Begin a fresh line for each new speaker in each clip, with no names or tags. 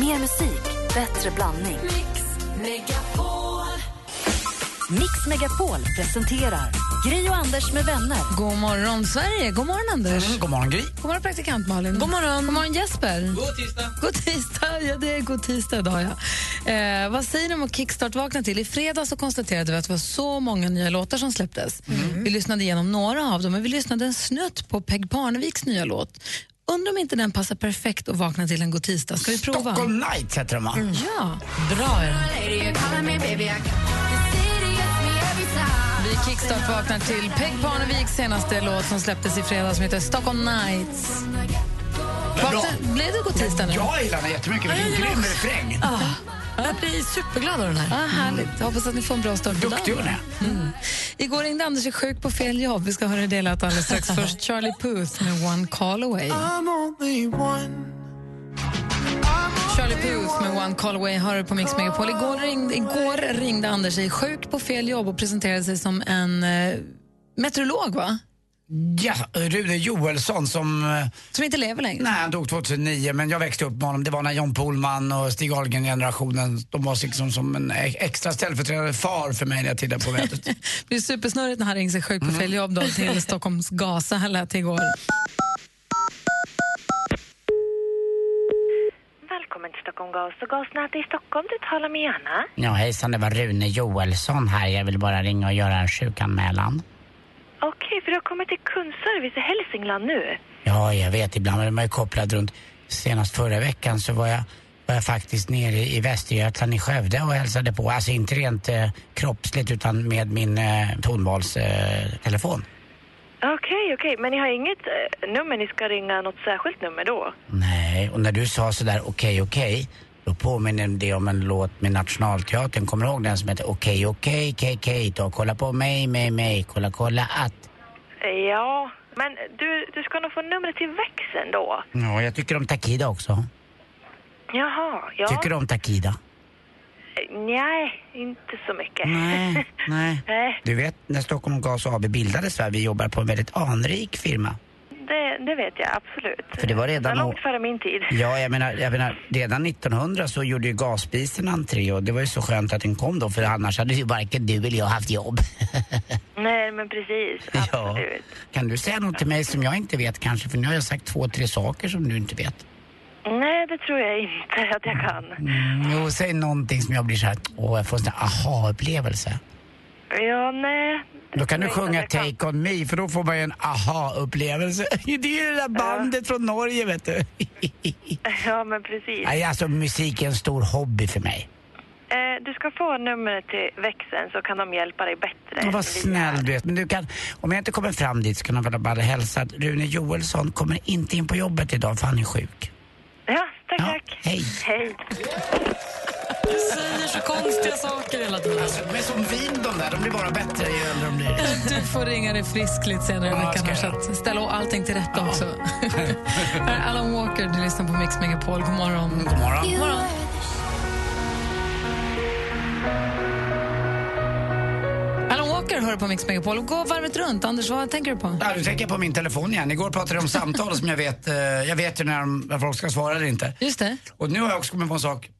Mer musik, bättre blandning.
Mix Megapol.
Mix Megapol presenterar Gri och Anders med vänner.
God morgon, Sverige. God morgon, Anders.
God morgon, Gry.
Mm, God morgon, praktikant Malin. God morgon, god morgon Jesper. God tisdag. God tisdag. Ja, det är god tisdag idag. Ja. Eh, vad säger ni om att kickstart-vakna till? I fredags så konstaterade vi att det var så många nya låtar som släpptes. Vi lyssnade igenom några av dem, men vi lyssnade en snutt på Peg Parneviks nya låt. Undrar om inte den passar perfekt att vakna till en god tisdag. Ska vi prova?
Stockholm Nights heter de, va?
Ja, Mm. bra är den. Vi kickstart-vaknar till Peg Parneviks senaste låt som släpptes i fredags som heter Stockholm Nights. Vakna, blev det god tisdag nu?
Jag gillar den jättemycket. Vilken grym refräng.
Jag blir superglad av den här. Ah, härligt. Jag hoppas att ni får en bra start på
Duktig hon
dagen.
är.
Igår ringde Anders är sjuk på fel jobb. Vi ska höra det delat alldeles strax. Först Charlie Puth med One Call Away. Charlie Puth med One Call Away hör du på Mix Megapol. Igår ringde, igår ringde Anders sig sjuk på fel jobb och presenterade sig som en eh, meteorolog, va?
Ja, Rune Joelsson som... eh,
Som inte lever längre.
Nej, han dog 2009, men jag växte upp med honom. Det var när John Pohlman och Stig Ahlgren-generationen, de var liksom som en e- extra ställföreträdande far för mig när jag tittade på vädret.
Det blir supersnurrigt när han ringer sig sjuk på fel jobb då, till Stockholms Gaza. Här lät det igår.
Välkommen till Stockholm Gas och gasnätet i Stockholm. Du talar med Anna.
Ja, hejsan, det var Rune Joelsson här. Jag vill bara ringa och göra en sjukanmälan.
Okej, för du har kommit till kundservice i Hälsingland nu.
Ja, jag vet, ibland är man ju kopplad runt. Senast förra veckan så var jag, var jag faktiskt nere i Västergötland i Skövde och hälsade på. Alltså inte rent eh, kroppsligt utan med min eh, tonvalstelefon. Eh, telefon.
Okej, okej. Men ni har inget eh, nummer ni ska ringa något särskilt nummer då?
Nej, och när du sa sådär okej, okej, då påminner det om en låt med Nationalteatern. Kommer du ihåg den som heter Okej, okej, KK, då kolla på mig, mig, mig, kolla, kolla att.
Eh, Ja, men du, du ska nog få numret till växeln då.
Ja, jag tycker om Takida också.
Jaha, ja.
Tycker du om Takida?
Eh, Nej, inte så mycket.
Nej, nej.
Nej,
Du vet, när Stockholm Gas AB bildades, va, vi jobbar på en väldigt anrik firma.
det, det vet jag absolut.
För det var redan
Det långt
å-
före min tid.
Ja, jag menar, jag menar, redan 1900 så gjorde ju gasspisen entré och det var ju så skönt att den kom då, för annars hade ju varken du eller jag haft jobb.
Nej, men precis.
ja.
Absolut.
Kan du säga något till mig som jag inte vet kanske? För nu har jag sagt två, tre saker som du inte vet.
Nej, det tror jag inte att jag kan.
Mm, Jo, säg någonting som jag blir så här, åh, jag får en sån här aha-upplevelse.
Ja, nej. det
Då kan du
tror jag
sjunga
inte att jag kan.
Take On Me, för då får man ju en aha-upplevelse. Det är ju det där bandet från Norge, vet du.
Ja, men precis.
Nej, alltså musik är en stor hobby för mig.
Eh, du ska få numret till växeln så kan de hjälpa dig bättre.
Ja,
än vi
vad snäll
är.
du är. Men du kan, om jag inte kommer fram dit så kan jag bara hälsa att Rune Joelsson kommer inte in på jobbet idag för han är sjuk.
Ja, tack,
Ja,
tack.
hej.
Hej.
Säger så konstiga saker hela tiden.
Men Alltså, som vin de där, de blir bara bättre ju äldre de blir.
Du får ringa dig friskligt senare i
Ja,
veckan.
ska
Så
jag.
att ställa allting till rätta också. Här är Alan Walker, du lyssnar på Mix Megapol. God morgon.
Mm, God morgon.
God morgon. Alan Walker hör på Mix Megapol. Gå varvet runt. Anders, vad tänker du på?
Ja, du tänker jag på min telefon igen. Igår pratade jag om samtal som jag vet, eh, jag vet ju när, de, när folk ska svara eller inte.
Just det.
Och nu har jag också kommit på en sak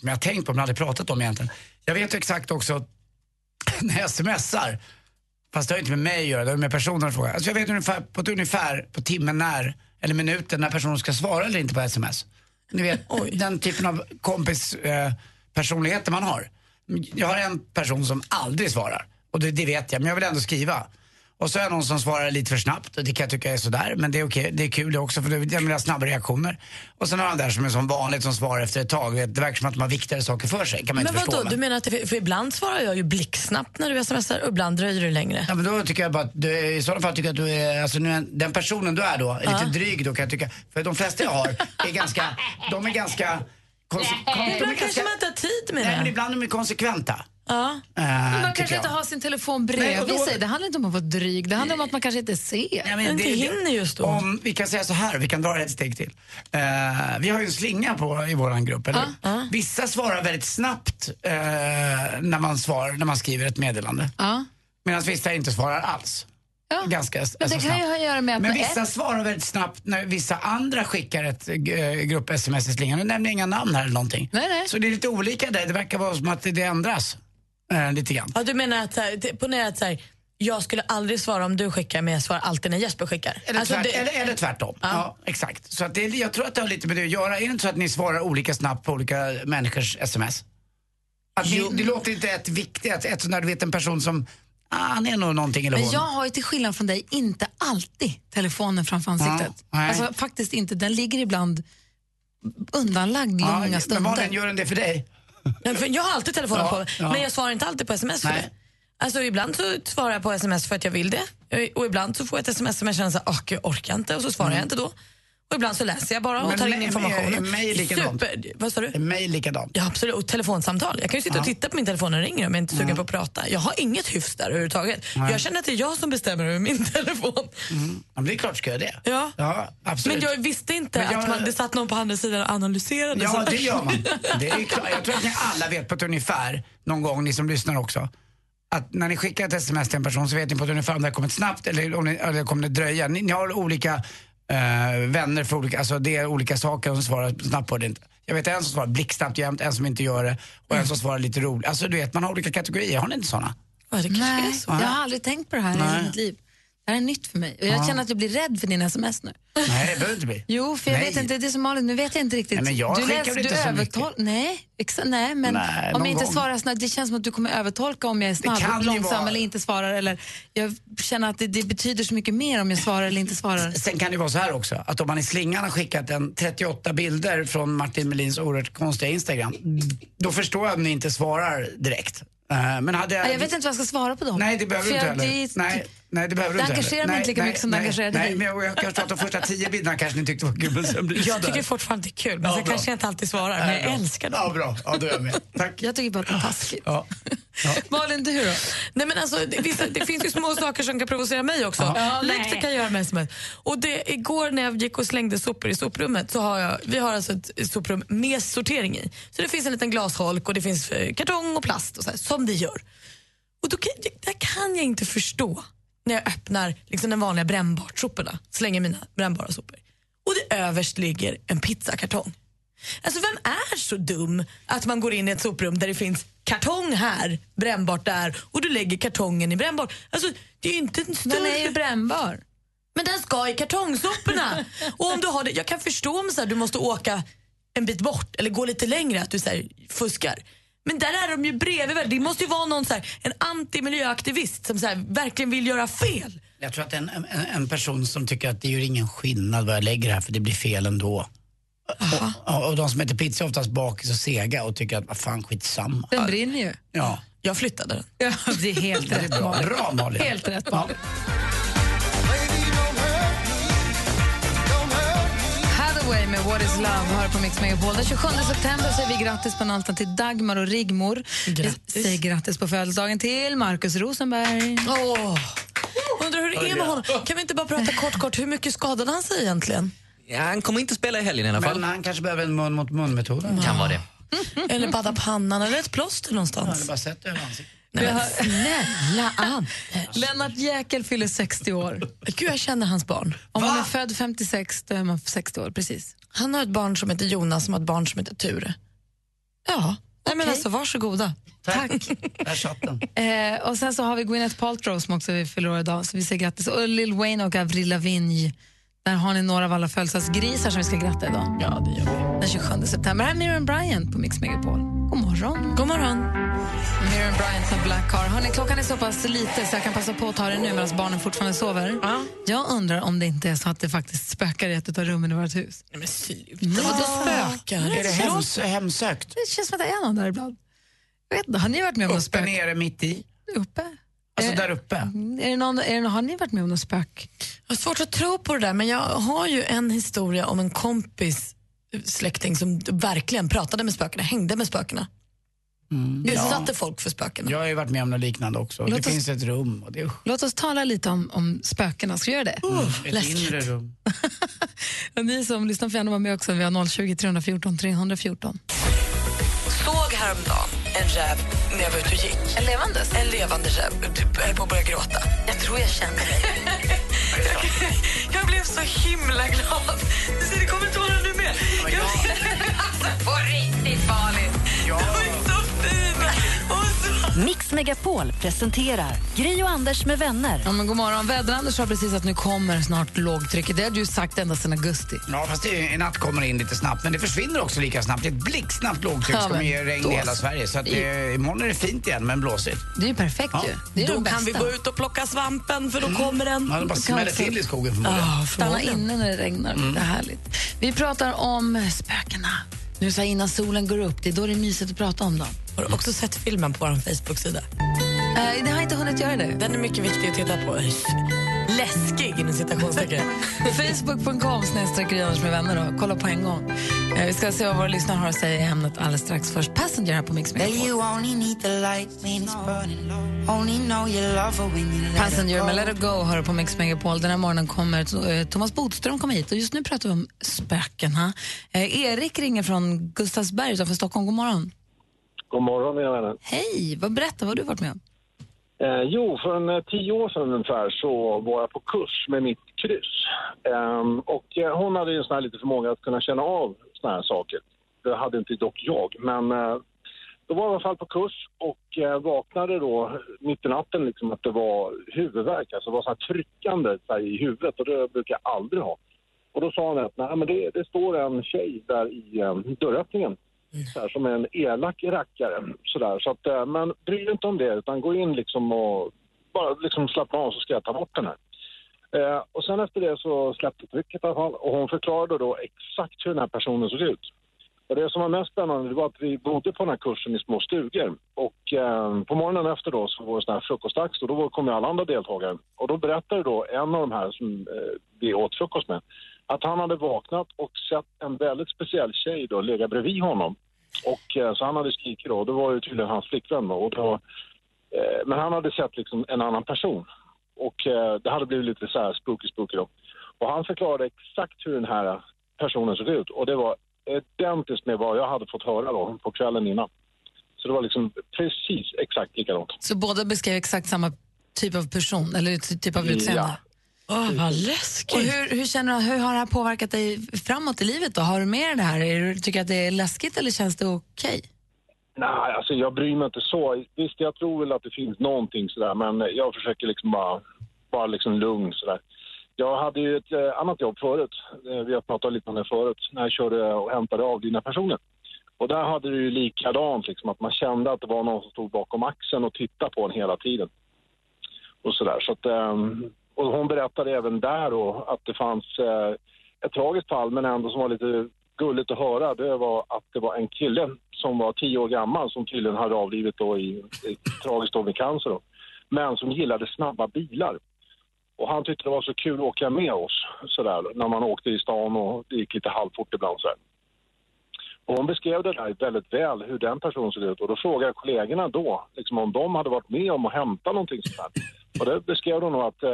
som jag har tänkt på men aldrig pratat om egentligen. Jag vet ju exakt också när jag smsar, fast det har ju inte med mig att göra, det har ju med personen att fråga. Alltså jag vet ungefär, på ett ungefär på timmen när, eller minuten, när personen ska svara eller inte på sms. Ni vet, den typen av kompis eh, personligheter man har. Jag har en person som aldrig svarar, och det, det vet jag, men jag vill ändå skriva. Och så är det någon som svarar lite för snabbt och det kan jag tycka är sådär. Men det är okej, det är kul det också för det- jag vill ha snabba reaktioner. Och sen har han där som är som vanligt som svarar efter ett tag. Det verkar som att man har viktigare saker för sig, kan man
Men
inte förstå.
vadå, du menar att det, för ibland svarar jag ju blixtsnabbt när du smsar och ibland dröjer det längre.
Ja, men då tycker jag bara att du, i sådana fall tycker jag att du är, alltså nu, är- den personen du är då, är lite dryg då kan jag tycka. För de flesta jag har är ganska, de är ganska, kons- kon- de är
Ibland kanske
ganska
man inte har tid med
Nej men
det.
ibland är de konsekventa.
Ja.
eh,
Man
tycker
kanske
jag.
inte har sin telefon
Nej, och
bredvid
då-
sig. Det handlar inte om att vara dryg. Det handlar om att man kanske inte ser.
Nej, men
inte hinner just då.
Om, vi kan säga så här, vi kan dra det ett steg till. Eh, vi har ju en slinga på, i våran grupp, eller hur? Vissa svarar väldigt snabbt eh, när, man svarar, när man skriver ett meddelande.
Ja.
Medan vissa inte svarar alls. ganska s-
Men det
alltså
kan ju
snabbt.
ha att göra med att
Men
med
vissa svarar väldigt snabbt när vissa andra skickar ett eh, grupp-sms i slingan. Nu nämner jag inga namn här eller någonting.
Nej, nej.
Så det är lite olika där. Det verkar vara som att det ändras eh, lite grann.
Ja, du menar att, så här, det- ponera att så här, jag skulle aldrig svara om du skickar men jag svarar alltid när Jesper skickar.
Eller,
Alltså,
tvärt,
det-
eller, eller tvärtom. Ja. exakt. Så att det, är- jag tror att det har lite med det att göra. Är det inte så att ni svarar olika snabbt på olika människors sms? Att ni, det låter inte ett viktigt, ett, ett, när du vet en person som, ah, han är nog någonting eller
Men
hon.
jag har ju till skillnad från dig inte alltid telefonen framför ansiktet.
Ja, nej.
alltså faktiskt inte. Den ligger ibland undanlagd
Ja,
långa
men
stunder.
Malin, gör den det för dig?
Nej, för jag har alltid telefonen
Ja,
på mig,
ja.
men jag svarar inte alltid på sms för
Nej.
det. Alltså ibland så svarar jag på sms för att jag vill det och ibland så får jag ett sms som jag känner så här, "Åh, gud, jag orkar inte och så svarar jag inte då. Och ibland så läser jag bara och
Mm. Men
tar in
med-
informationen.
med- med likadant.
Super, vad sa du?
Är mig likadant?
Ja absolut, och telefonsamtal. Jag kan ju sitta och titta på min telefon när den ringer om jag inte är
Mm.
sugen på att prata. Jag har inget hyfs där överhuvudtaget. Jag känner att det är jag som bestämmer över min telefon.
Ja, men det är klart ska jag det.
Ja.
absolut.
Men jag visste inte
Men jag-
att man, det satt någon på andra sidan och analyserade.
Ja,
så.
det gör man. Det är klart. Jag tror att ni alla vet på ett ungefär, någon gång, ni som lyssnar också, att när ni skickar ett sms till en person så vet ni på ett ungefär om det har kommit snabbt eller om ni, eller kommer det dröja. Ni, ni har olika eh, vänner för olika, alltså det är olika saker som svarar snabbt på det. inte. Jag vet en som svarar blixtsnabbt jämt, en som inte gör det och en som svarar lite roligt. Alltså du vet, man har olika kategorier. Har ni inte sådana?
Ja, det kanske är
Nej,
så.
jag har aldrig tänkt på det här i hela mitt liv. Det här är nytt för mig. Och jag känner att jag blir rädd för dina sms nu.
Nej, det behöver inte bli.
Jo, för jag
Nej.
vet inte, det är som Malin, nu vet jag inte riktigt.
Nej, men jag
du
skickar väl
du
inte så
övertol- Nej, exa- nej, men
Nej,
om
någon
jag inte
gång.
svarar snabbt, det känns som att du kommer övertolka om jag är
kan
snabb,
ju
långsam
vara-
eller inte svarar. Eller jag känner att det, det betyder så mycket mer om jag svarar eller inte svarar.
Sen kan det vara så här också, att om man i slingan har skickat en 38 bilder från Martin Melins oerhört konstiga Instagram, då förstår jag om ni inte svarar direkt. Eh, Men hade
Nej, Jag vet inte vad jag ska svara på dem.
Nej, det behöver
För
du inte
jag-
heller.
det är- typ-
nej, nej, det behöver
Det
du inte
engagerar
heller.
mig
Nej,
inte lika
nej,
mycket som det
nej,
engagerade
nej,
dig.
Men jag, jag kanske att de första tio bilderna kanske ni tyckte var kul, men sen blir det
Jag
sådär.
tycker fortfarande det är kul, men
Ja,
sen
bra.
kanske jag inte alltid svarar. Men jag älskar dem.
Ja, bra. Ja, då är jag med. Tack.
Jag tycker bara att det är taskigt.
Ja.
Malin, du då?
Nej, men alltså, det, vissa, det finns ju små saker som kan provocera mig också.
Ja,
Lätt det
nej.
kan göra mig som helst. Och det, igår när jag gick och slängde sopor i soprummet så har jag, vi har alltså ett soprum med sortering i. Så det finns en liten glasholk och det finns eh, kartong och plast och så här, som det gör. Och då kan, det kan jag inte förstå när jag öppnar liksom den vanliga brännbart-soporna, slänger mina brännbara sopor. Och det överst ligger en pizzakartong. Alltså vem är så dum att man går in i ett soprum där det finns kartong här, brännbart där och du lägger kartongen i brännbart. Alltså det är ju inte en
Den är
större...
ju brännbar.
Men den ska i kartongsoporna. och om du har det, jag kan förstå om så här, du måste åka en bit bort eller gå lite längre att du så här, fuskar. Men där är de ju bredvid. varandra. Det måste ju vara någon så här, en antimiljöaktivist som så här, verkligen vill göra fel.
Jag tror att en, en, en person som tycker att det gör ingen skillnad vad jag lägger här för det blir fel ändå. Och, och, och de som äter pizza är oftast bakis och sega och tycker att vad fan skitsamma.
Den brinner ju.
Ja,
Jag flyttade den.
Ja, det är helt
det är
rätt.
bra. Bra Malin.
Helt rätt, Malin. Hathaway med What is love hör på Mix Megapol. Den 27 september säger vi grattis på namnsdagen till Dagmar och Rigmor. Vi säger grattis på födelsedagen till Markus Rosenberg.
Åh, Undrar hur det är med honom. Kan vi inte bara prata kort, kort, hur mycket skadade han sig egentligen?
Ja, han kommer inte spela i helgen i alla fall.
Men han kanske behöver en mun mot mun-metod.
Kan vara det.
Mm. Eller badda pannan eller ett plåster
Han hade
någonstans?
bara sett det över ansiktet.
Nej, men snälla Ann.
Lennart Jäkel fyller 60 år.
Gud, jag känner hans barn.
Om man är född 56 då är man 60 år, precis.
Han har ett barn som heter Jonas som har ett barn som heter Ture. Ja, Nej, men alltså varsågoda.
Tack. Där satt den.
Eh, och sen så har vi Gwyneth Paltrow som också fyller år idag, så vi säger grattis. Och Lil Wayne och Avril Lavigne. Där har ni några av alla födelsedagsgrisar som vi ska gratta idag. Ja, det gör vi. Den 27 september. Här är Miriam Bryant på Mix Megapol. God morgon.
God morgon.
Miriam Bryant med Black Car. Hörrni, klockan är så pass lite så jag kan passa på att ta det nu medan barnen fortfarande sover. Jag undrar om det inte är så att det faktiskt spökar i ett av rummen i vårt hus.
Nej, men sluta. Vad det
Är
spökar.
det hems hemsökt?
Det känns som att det är någon där ibland. Jag vet inte, har ni varit med om något
Uppe,
spök
nere, mitt i?
uppe?
Alltså
Eh,
där uppe?
Är det någon, är det, har ni varit med om något spök?
Jag har svårt att tro på det där, men jag har ju en historia om en kompis släkting som verkligen pratade med spökena, hängde med spökena. Utsatte folk för spökena.
Mm. Jag har ju varit med om något liknande också.
Låt
Det
oss-
finns ett rum och det är
Låt oss tala lite om, om spökena. Ska vi göra det?
ett
läskigt.
inre rum.
Och Ni som lyssnar får gärna vara med också. Vi har 020 314 314.
Såg häromdagen en räv när jag var ute och gick. En levandes? En levande räv. Typ, Jag höll på att börja gråta. Jag tror jag känner dig. jag, jag blev så himla glad. Så det kommer inte vara nu mer. Jag, alltså, på riktigt, Malin. Ja. Du är så fin. Och så...
Mix Megapol presenterar Gri och Anders med vänner.
Ja, men god morgon. Väderanders sa precis att nu kommer snart lågtrycket. Det har du sagt ända sedan augusti.
Ja, fast det, i natt kommer det in lite snabbt, men det försvinner också lika snabbt. Det är ett blixtsnabbt lågtryck
Ja,
som
men
ger regn
då
i hela
så.
Sverige. Så att, eh, imorgon är det fint igen, men blåsigt.
Det är ju perfekt
Ja.
ju. Det är
Då
det
kan
bästa.
vi gå ut och plocka svampen för då kommer den.
Mm. Man bara smäller
också-
till i skogen Mm. förmodligen.
Ah,
Stanna
förmodligen.
inne när det regnar. Det är härligt. Vi pratar om spökena. Nu så här innan solen går upp, det är då det är mysigt att prata om dem.
Har du också sett filmen på vår Facebook-sida?
Eh, det har jag inte hunnit göra det.
Den är mycket viktig att titta på. Läskig inom citationstecken.
Facebook.com snedstreck Gry Anders med vänner och kolla på en gång. Eh, vi ska se vad våra lyssnare har att säga i ämnet alldeles strax. Först Passenger här på Mix Megapol. Passenger med Let It Go hör på Mix Megapol. Den här morgonen kommer eh, Thomas Bodström komma hit och just nu pratar vi om spökena. Eh, Erik ringer från Gustavsberg utanför Stockholm. God morgon.
God morgon, mina vänner.
Hej, vad berätta vad har du varit med om?
Eh, jo, för en eh, tio år sedan ungefär så var jag på kurs med mitt kryss. Ehm, och eh, hon hade ju en sån här lite förmåga att kunna känna av såna här saker. Det hade inte dock jag, men eh, då var jag i alla fall på kurs och eh, vaknade då mitt i natten liksom att det var huvudvärk, alltså det var så här tryckande så här, i huvudet och det brukar jag aldrig ha. Och då sa han att Nej, men det, det står en tjej där i eh, dörröppningen så här, som är en elak rackare. Så där. Så att, eh, men bry dig inte om det, utan gå in liksom och bara liksom slappna av så ska jag ta bort den här. Eh, och sen efter det så släppte trycket i alla fall och hon förklarade då exakt hur den här personen såg ut. Och det som var mest spännande det var att vi bodde på den här kursen i små stugor. Och eh, på morgonen efter då så var det sån här frukostdags och då var- kom ju alla andra deltagare. Och då berättade då en av de här som eh, vi åt frukost med att han hade vaknat och sett en väldigt speciell tjej då ligga bredvid honom. Och eh, så han hade skrikit då, och det var ju tydligen hans flickvän då. Och då eh, men han hade sett liksom en annan person. Och eh, det hade blivit lite så här spooky spooky då. Och han förklarade exakt hur den här personen såg ut. Och det var identiskt med vad jag hade fått höra då på kvällen innan. Så det var liksom precis exakt likadant.
Så båda beskrev exakt samma typ av person eller ty- typ av utseende?
Åh, vad
Och
läskigt.
hur, hur, känner du, hur har det här påverkat dig framåt i livet? Då? Har du med dig det här? Är du, tycker du att det är läskigt eller känns det okej?
Nej, alltså jag bryr mig inte så. Visst, jag tror väl att det finns någonting sådär, men jag försöker liksom bara, bara liksom lugn sådär. Jag hade ju ett eh, annat jobb förut. Eh, vi har pratat lite om det förut, när jag körde och hämtade avlidna personer. Och där hade du ju likadant, liksom, att man kände att det var någon som stod bakom axeln och tittade på en hela tiden. Och sådär. Så att, ehm, och hon berättade även där då att det fanns eh, ett tragiskt fall, men ändå som var lite gulligt att höra, det var att det var en kille som var tio år gammal som tydligen hade avlivit då i, i tragiskt då med cancer då, men som gillade snabba bilar. Och han tyckte det var så kul att åka med oss sådär när man åkte i stan och det gick lite halvfort ibland sådär. Och hon beskrev det där väldigt väl, hur den personen såg ut. Och då frågade jag kollegorna då, liksom om de hade varit med om att hämta någonting sånt här. Och det beskrev de nog att eh,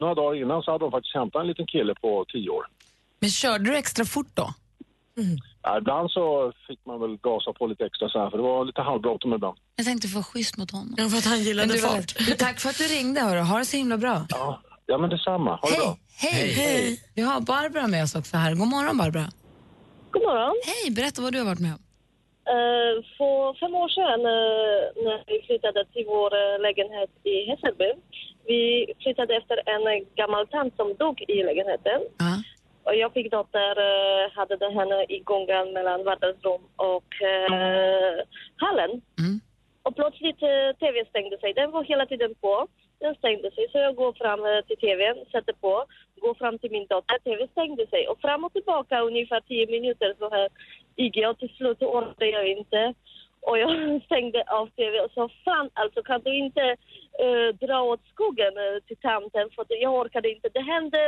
några dagar innan så hade de faktiskt hämtat en liten kille på tio år.
Men körde du extra fort då?
Ja, ibland så fick man väl gasa på lite extra så här, för det var lite halvbråttom ibland.
Jag tänkte få schysst mot honom.
Ja, för att han
Men
gillade
du, var-
fart.
du, tack för att du ringde. Hörru. Ha det så himla bra.
Ja, ja men detsamma. Ha det bra.
Hej, hej, hej! Vi har Barbara med oss också här. God morgon, Barbara.
God morgon.
Hej, berätta vad du har varit med om.
Eh, För fem år sedan eh, när vi flyttade till vår eh, lägenhet i Hässelby. Vi flyttade efter en eh, gammal tant som dog i lägenheten.
Ja.
Och jag fick dotter, eh, hade den henne i gången mellan vardagsrum och eh, hallen.
Mm.
Och plötsligt eh, tvn stängde sig. Den var hela tiden på. Den stängde sig, så jag går fram eh, till tvn, sätter på, går fram till min dotter. Tvn stängde sig. Och fram och tillbaka ungefär tio minuter så här gick jag. Till slut orkade jag inte. Och jag stängde av tv och sa fan alltså kan du inte eh, dra åt skogen eh, till tanten för att jag orkade inte. Det hände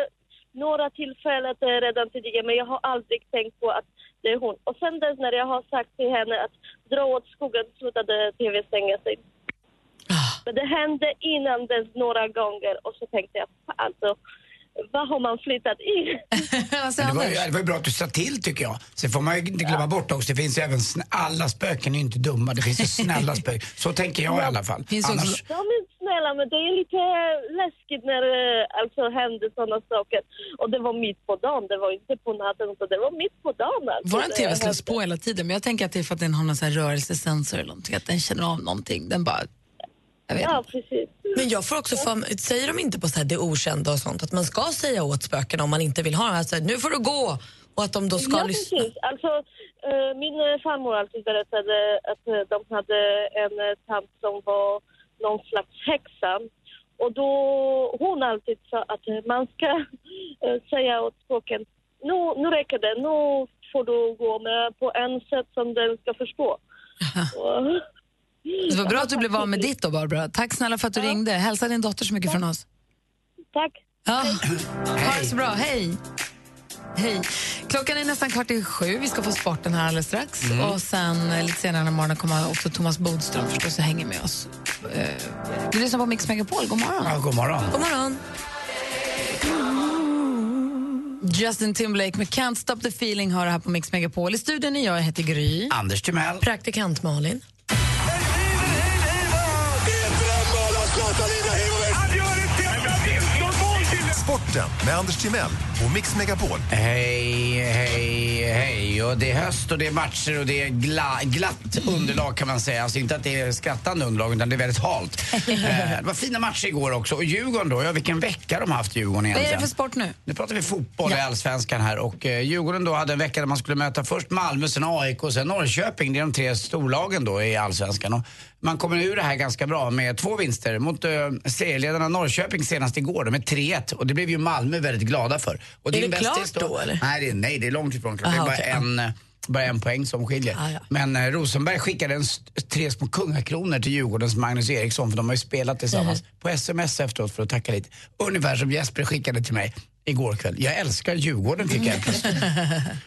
några tillfällen eh, redan tidigare men jag har aldrig tänkt på att det är hon. Och sen dess när jag har sagt till henne att dra åt skogen slutade tv stänga sig. Men det hände innan dess några gånger och så tänkte jag fan, alltså vad har man flyttat in?
Men det, var ju, det var ju bra att du sa till tycker jag. Sen får man ju inte glömma bort också, det finns ju även, sn- alla spöken är ju inte dumma, det finns ju snälla spöken. Så tänker jag i alla fall. Annars,
De är snälla, men det är lite läskigt när det alltså, händer sådana saker. Och det var mitt på dagen, det var inte på natten, utan det var mitt på dagen. Alltså.
Vår tv slås
Det hände.
på hela tiden, men jag tänker att det är för att den har någon så här rörelsesensor eller någonting, att den känner av någonting. Den bara... Jag vet
Ja,
inte.
precis.
Men jag får också för mig- säger de inte på så här det okända och sånt att man ska säga åt spöken om man inte vill ha dem? Alltså, nu får du gå! Och att de då ska
ja,
lyssna.
precis. Alltså, eh, min eh, farmor alltid berättade att eh, de hade en eh, tant som var någon slags häxa. Och då hon alltid sa att eh, man ska eh, säga åt språken nu, nu räcker det, nu får du gå med på en sätt som den ska förstå. Och- Mm.
Det var bra att du blev av med ditt då, Barbara. Tack snälla för att du ringde. Hälsa din dotter så mycket från oss.
Tack.
Ja. Ha det så bra. Hej. Hej. Klockan är nästan kvart i sju. Vi ska få sporten här alldeles strax.
Mm.
Och sen eh, lite senare i morgon kommer också Thomas Bodström förstås och hänger med oss. Eh, Du lyssnar på Mix Megapol. God morgon.
ja, god morgon.
God morgon. Justin Timberlake med Can't Stop The Feeling har det här på Mix Megapol. I studion är jag, jag heter Gry.
Anders Timell.
Praktikant Malin.
Sporten med Anders Timell och Mix Megapol.
Hej, hej, hej. Och det är höst och det är matcher och det är gla, glatt underlag kan man säga. Alltså inte att det är skrattande underlag utan det är väldigt halt. eh, det var fina matcher igår också. Och Djurgården då, ja vilken vecka de har haft Djurgården
Vad är det
egentligen.
för sport nu?
Nu pratar vi fotboll i Allsvenskan här och eh, Djurgården då hade en vecka där man skulle möta först Malmö, sen AIK och sen Norrköping. Det är de tre storlagen då i Allsvenskan. Och man kommer ur det här ganska bra med två vinster mot eh, serieledarna Norrköping senast igår då, med 3-1 och det blev ju Malmö väldigt glada för. Och
Är
din
det
bästis
klart då, eller?
Nej, det är, nej, det är långt ifrån klart. det är
Aha,
bara,
okej, ja.
en, eh, bara en poäng som skiljer.
Ah, ja.
Men eh, Rosenberg skickade en st- tre små kungakronor till Djurgårdens Magnus Eriksson för de har ju spelat tillsammans
Mm.
på sms efteråt för att tacka lite. Ungefär som Jesper skickade till mig igår kväll. Jag älskar Djurgården fick jag helt plötsligt.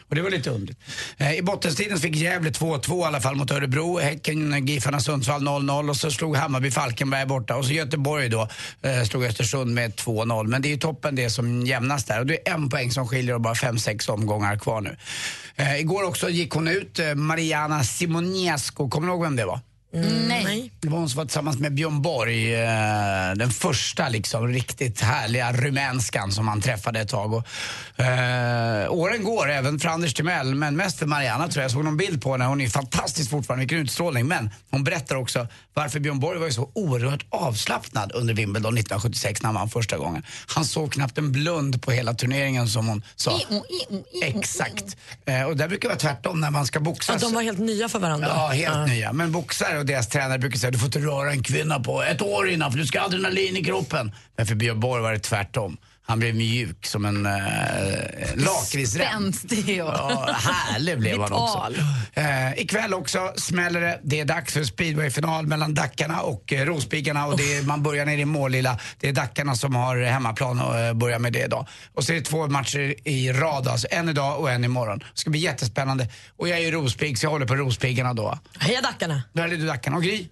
Och det var lite underligt. Eh, I bottenstriden så fick Gävle 2-2 i alla fall mot Örebro. Häcken, Giffarna, Sundsvall 0-0 och så slog Hammarby Falkenberg borta. Och så Göteborg då eh, slog Östersund med 2-0. Men det är ju toppen det som jämnas där. Och det är en poäng som skiljer och bara fem sex omgångar kvar nu. Eh, igår också gick hon ut, eh, Mariana Simoniescu. Kommer ni ihåg vem det var?
Nej.
Det var hon som var tillsammans med Björn Borg, eh, den första liksom riktigt härliga rumänskan som han träffade ett tag. Och, eh, åren går, även för Anders Timell, men mest för Mariana tror jag. Jag såg någon bild på henne, hon är fantastisk fortfarande, vilken utstrålning. Men hon berättar också varför Björn Borg var ju så oerhört avslappnad under Wimbledon 1976 när han vann första gången. Han såg knappt en blund på hela turneringen som hon sa. Exakt. Eh, och där brukar det vara tvärtom när man ska boxas.
Ja, de var helt nya för varandra.
Ja, helt nya. Men boxare och deras tränare brukar säga du får inte röra en kvinna på ett år innan för du ska ha adrenalin i kroppen. Men för Björn Borg var det tvärtom. Han blev mjuk som en äh, lakritsrem.
Spänstig och...
Ja, härlig blev han också.
Vital.
Eh, ikväll också smäller det. Det är dags för speedwayfinal mellan Dackarna och eh, Rospikarna. Och det är, man börjar nere i Målilla. Det är Dackarna som har hemmaplan och eh, börjar med det idag. Och så är det två matcher i rad. Alltså. En idag och en imorgon. Det ska bli jättespännande. Och jag är ju Rospigg så jag håller på Rospiggarna då.
Heja Dackarna!
Då är det du Dackarna och Gry.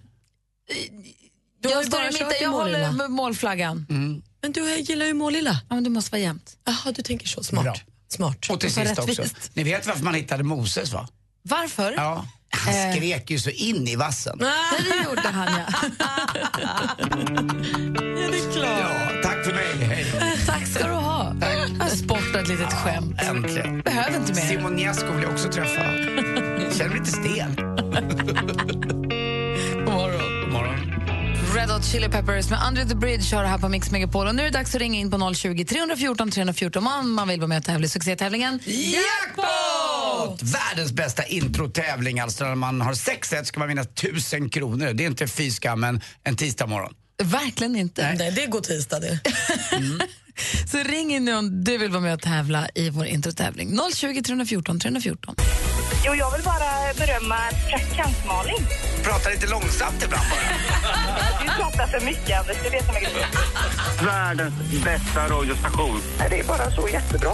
Du har
Jag
ju
står i
bara
mitten,
kört i
jag håller
Målilla.
med målflaggan.
Mm,
Men du jag gillar ju Målilla.
Ja, men det måste vara jämnt.
Jaha, du tänker så. Smart.
Bra.
Smart.
Och till
Så
sist också.
rättvist.
Ni vet varför man hittade Moses va?
Varför?
Ja. Han
Eh.
skrek ju så in i vassen.
Nej, det gjorde han ja.
Ja, tack för mig. Hej.
Eh,
Tack ska du ha. Jag har sportat ett litet skämt.
Äntligen.
Behöver inte mer.
Simoniescu vill jag också träffa. Känner mig lite stel.
God morgon.
God morgon.
Red Hot Chili Peppers med Under the Bridge kör här på Mix Megapol. Och nu är det dags att ringa in på 020 314 314 om man vill vara med och tävla i succétävlingen.
Jackpot! Världens bästa introtävling. Alltså när man har sex rätt ska man vinna tusen kronor. Det är inte fy skam, men en tisdag morgon.
Verkligen inte.
Nej, det är god tisdag det.
Så ring in nu om du vill vara med och tävla i vår introtävling. 020 314 314.
Jo, jag vill bara berömma praktikant Malin.
Prata lite långsamt ibland bara.
Du pratar för mycket, Anders. Det är det som är grejen.
Världens bästa radiostation.
Det är bara så jättebra.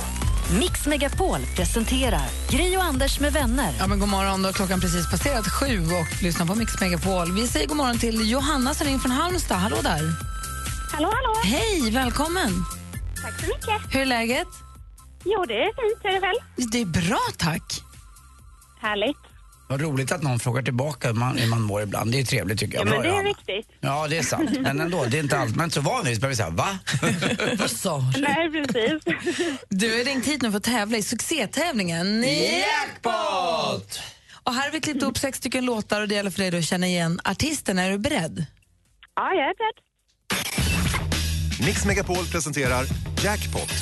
Mix Megapol presenterar Gri och Anders med vänner.
Ja, men god morgon. Då. Klockan precis passerat sju och lyssnar på Mix Megapol. Vi säger god morgon till Johanna som ringer från Halmstad. Hallå där.
Hallå, hallå.
Hej, välkommen.
Tack så mycket.
Hur är läget?
Jo, det är fint. Hur är det själv?
Det är bra, tack.
Härligt.
Vad roligt att någon frågar tillbaka hur man, hur man mår ibland. Det är ju trevligt tycker
Ja,
jag.
men det
Bra,
är
Johanna.
viktigt.
Ja, det är sant. Men ändå, det är inte allmänt så van vid. Så börjar vi säga, va?
Vad sa
Nej, precis.
Du har ringt hit nu för att tävla i succétävlingen Jackpot! Och här har vi klippt upp sex stycken låtar och det gäller för dig då att känna igen artisten. Är du beredd?
Ja, jag är beredd.
Mix Megapol presenterar Jackpot.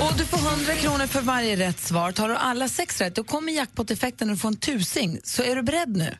Och du får 100 kronor för varje rätt svar. Tar du alla sex rätt, då kommer jackpot-effekten och du får en tusing. Så är du beredd nu?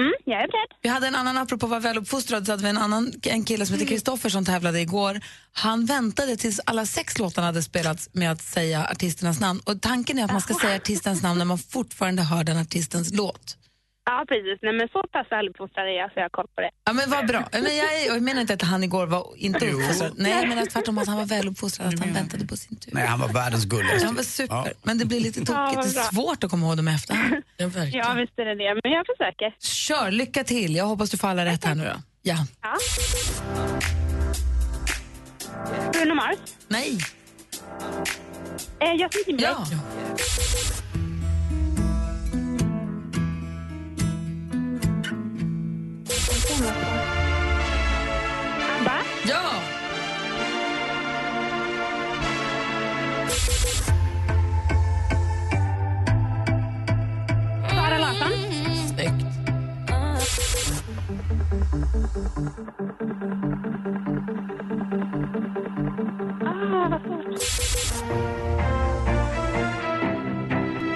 Mm, jag är beredd.
Vi hade en annan, apropå att vara väluppfostrad, så hade vi en annan en kille
Mm.
som heter Kristoffer som tävlade igår. Han väntade tills alla sex låtarna hade spelats med att säga artisternas namn. Och tanken är att man ska säga artistens namn när man fortfarande hör den artistens låt.
Ja, precis. Nej, men så pass väluppfostrad är jag så jag har koll på det.
Ja, men vad bra. Men jag, är- jag menar inte att han igår var inte
Jo.
uppfostrad. Nej, jag menar tvärtom att han var väluppfostrad, att han väntade på sin tur.
Nej, han var världens gulligaste.
Han var super.
Ja.
Men det blir lite
Ja,
tokigt.
vad
det
bra.
är svårt att komma ihåg dem i efterhand. Ja,
Ja, visst är det det. Men jag försöker.
Kör, lycka till. Jag hoppas du får alla rätt här nu då. Ja.
Ja. Bruno Mars.
Nej.
Eh, Justin Timberlake.
Ja.
Abba.
Ja!
Sara Larsson.
Snyggt.
Ah, vad svårt.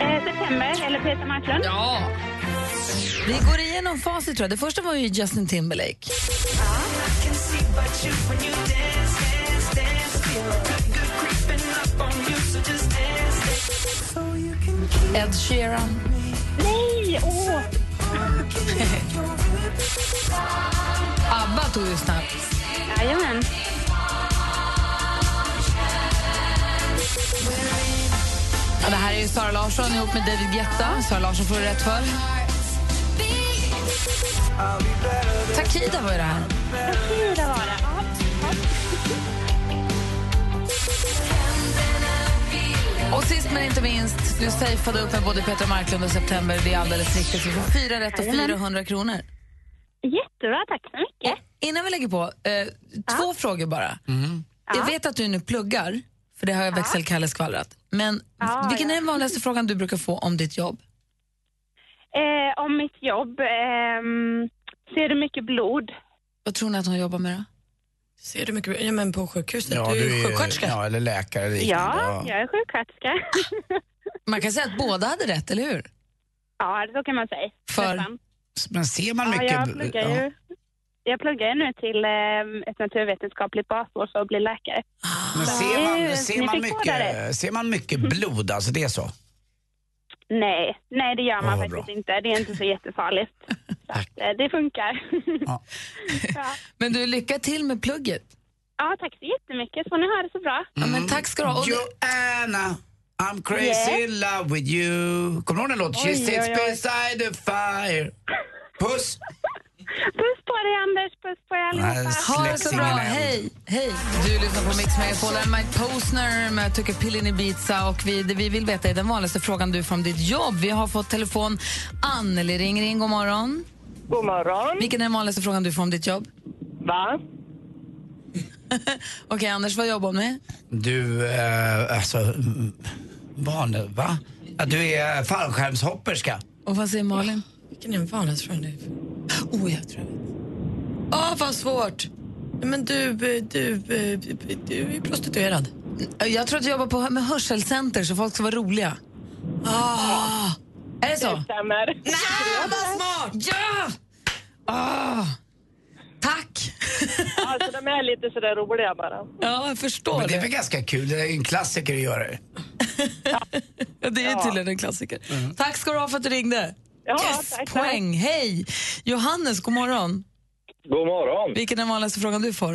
Eh, September, eller Peter Marklund.
Ja. Vi går igenom facit tror jag. Det första var ju Justin Timberlake. Ed Sheeran.
Nej, åh!
ABBA tog ju snabbt.
Jajamän.
Ja, det här är ju Sara Larsson ihop med David Guetta. Sara Larsson får du rätt för. Takida var ju det här.
Takida var det. Ja.
Och sist men inte minst, du safeade upp med både Petra Marklund och September. Det är alldeles riktigt. Vi får fyra rätt och
Jajamän.
400 kronor.
Jättebra, tack så mycket.
Innan vi lägger på, eh, två frågor bara. Jag vet att du nu pluggar, för det har jag växelkalle skvallrat. Men
Ja,
vilken är
ja.
den vanligaste frågan du brukar få om ditt jobb?
Eh, om mitt jobb. ehm, ser du mycket blod?
Vad tror ni att hon jobbar med då?
Ser du mycket ja, men på sjukhuset?
Ja,
du är ju
ju-
sjuksköterska.
Ja, eller läkare eller
Ja,
liknande.
jag är sjuksköterska.
Man kan säga att båda hade rätt, eller hur?
ja, så kan man säga.
För?
Nästan.
Men ser man
Ja,
mycket...
jag pluggar ju. Jag pluggar ju nu till ehm, ett naturvetenskapligt basår för att bli läkare.
Men ser
Eh,
man, ser,
ni fick
man
båda rätt.
mycket, ser man mycket blod, alltså det är så?
Nej, nej det gör man
Ja, vad
faktiskt inte. Det är inte så jättefarligt. Så att, eh, det funkar. Ja.
Men du, lycka till med plugget.
tack så jättemycket. Får ni ha det så bra.
Ja, men tack ska du ha. Och det-
Mm. Joanna, I'm crazy
Yeah.
in love with you. Kommer du ihåg den låten? She
Oj,
sits
oj, oj.
beside the fire. Puss!
Puss på dig Anders, puss på er allihopa.
Ha det så bra, hej! hej. Du lyssnar på Mix Megapol, Här är Mike Posner med Tucker Pillin Ibiza och vi, det vi vill veta är den vanligaste frågan du får om ditt jobb. Vi har fått telefon. Anneli ringer in, god morgon.
God morgon.
Vilken är den vanligaste frågan du får om ditt jobb?
Va?
Okej Anders, vad jobbar du med?
Du, eh, alltså... mm, Barn, va? Ja, du är fallskärmshopperska.
Och vad säger Malin?
Vilken är den vanligaste frågan du Oh, jag tror jag vet. Åh, vad svårt! Men du, eh, du, eh, du är prostituerad.
Jag tror att du jobbar på, med hörselcenter så folk ska vara roliga. Ah, är det så?
Eh,
Det stämmer.
Nej, vad smart!
Ja! Ah, tack!
Alltså, de är lite sådär roliga bara.
Ja, jag förstår
Men det är väl ganska kul, det är en klassiker att göra det.
Ja, det är ju tydligen en klassiker.
Mm.
Tack ska du ha för att du ringde.
Ja,
yes,
tack, tack.
poäng. Hej! Johannes, god morgon.
God morgon.
Vilken är den vanligaste frågan du får?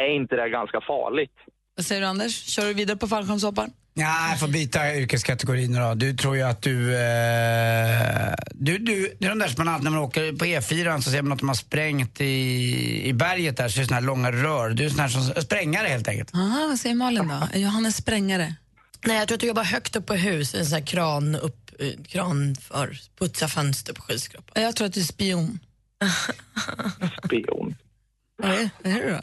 Är inte det ganska farligt?
Vad säger du Anders? Kör du vidare på fallskärmshoppar?
Ja, jag får byta yrkeskategori nu då. Du tror ju att du, eh, du... Du, det är de där som man alltid, när man åker på E4 så ser man att de har sprängt i, i berget där, så är det såna här långa rör. Du är sån här som, sprängare helt enkelt.
Aha, vad säger Malin då? Är Johannes sprängare?
Nej, jag tror att du jobbar högt upp på hus, en sån här kran, upp, eh, kran för putsa fönster på skyskrapan.
Jag tror att du är spion.
Spion.
Vad är, vad är du då?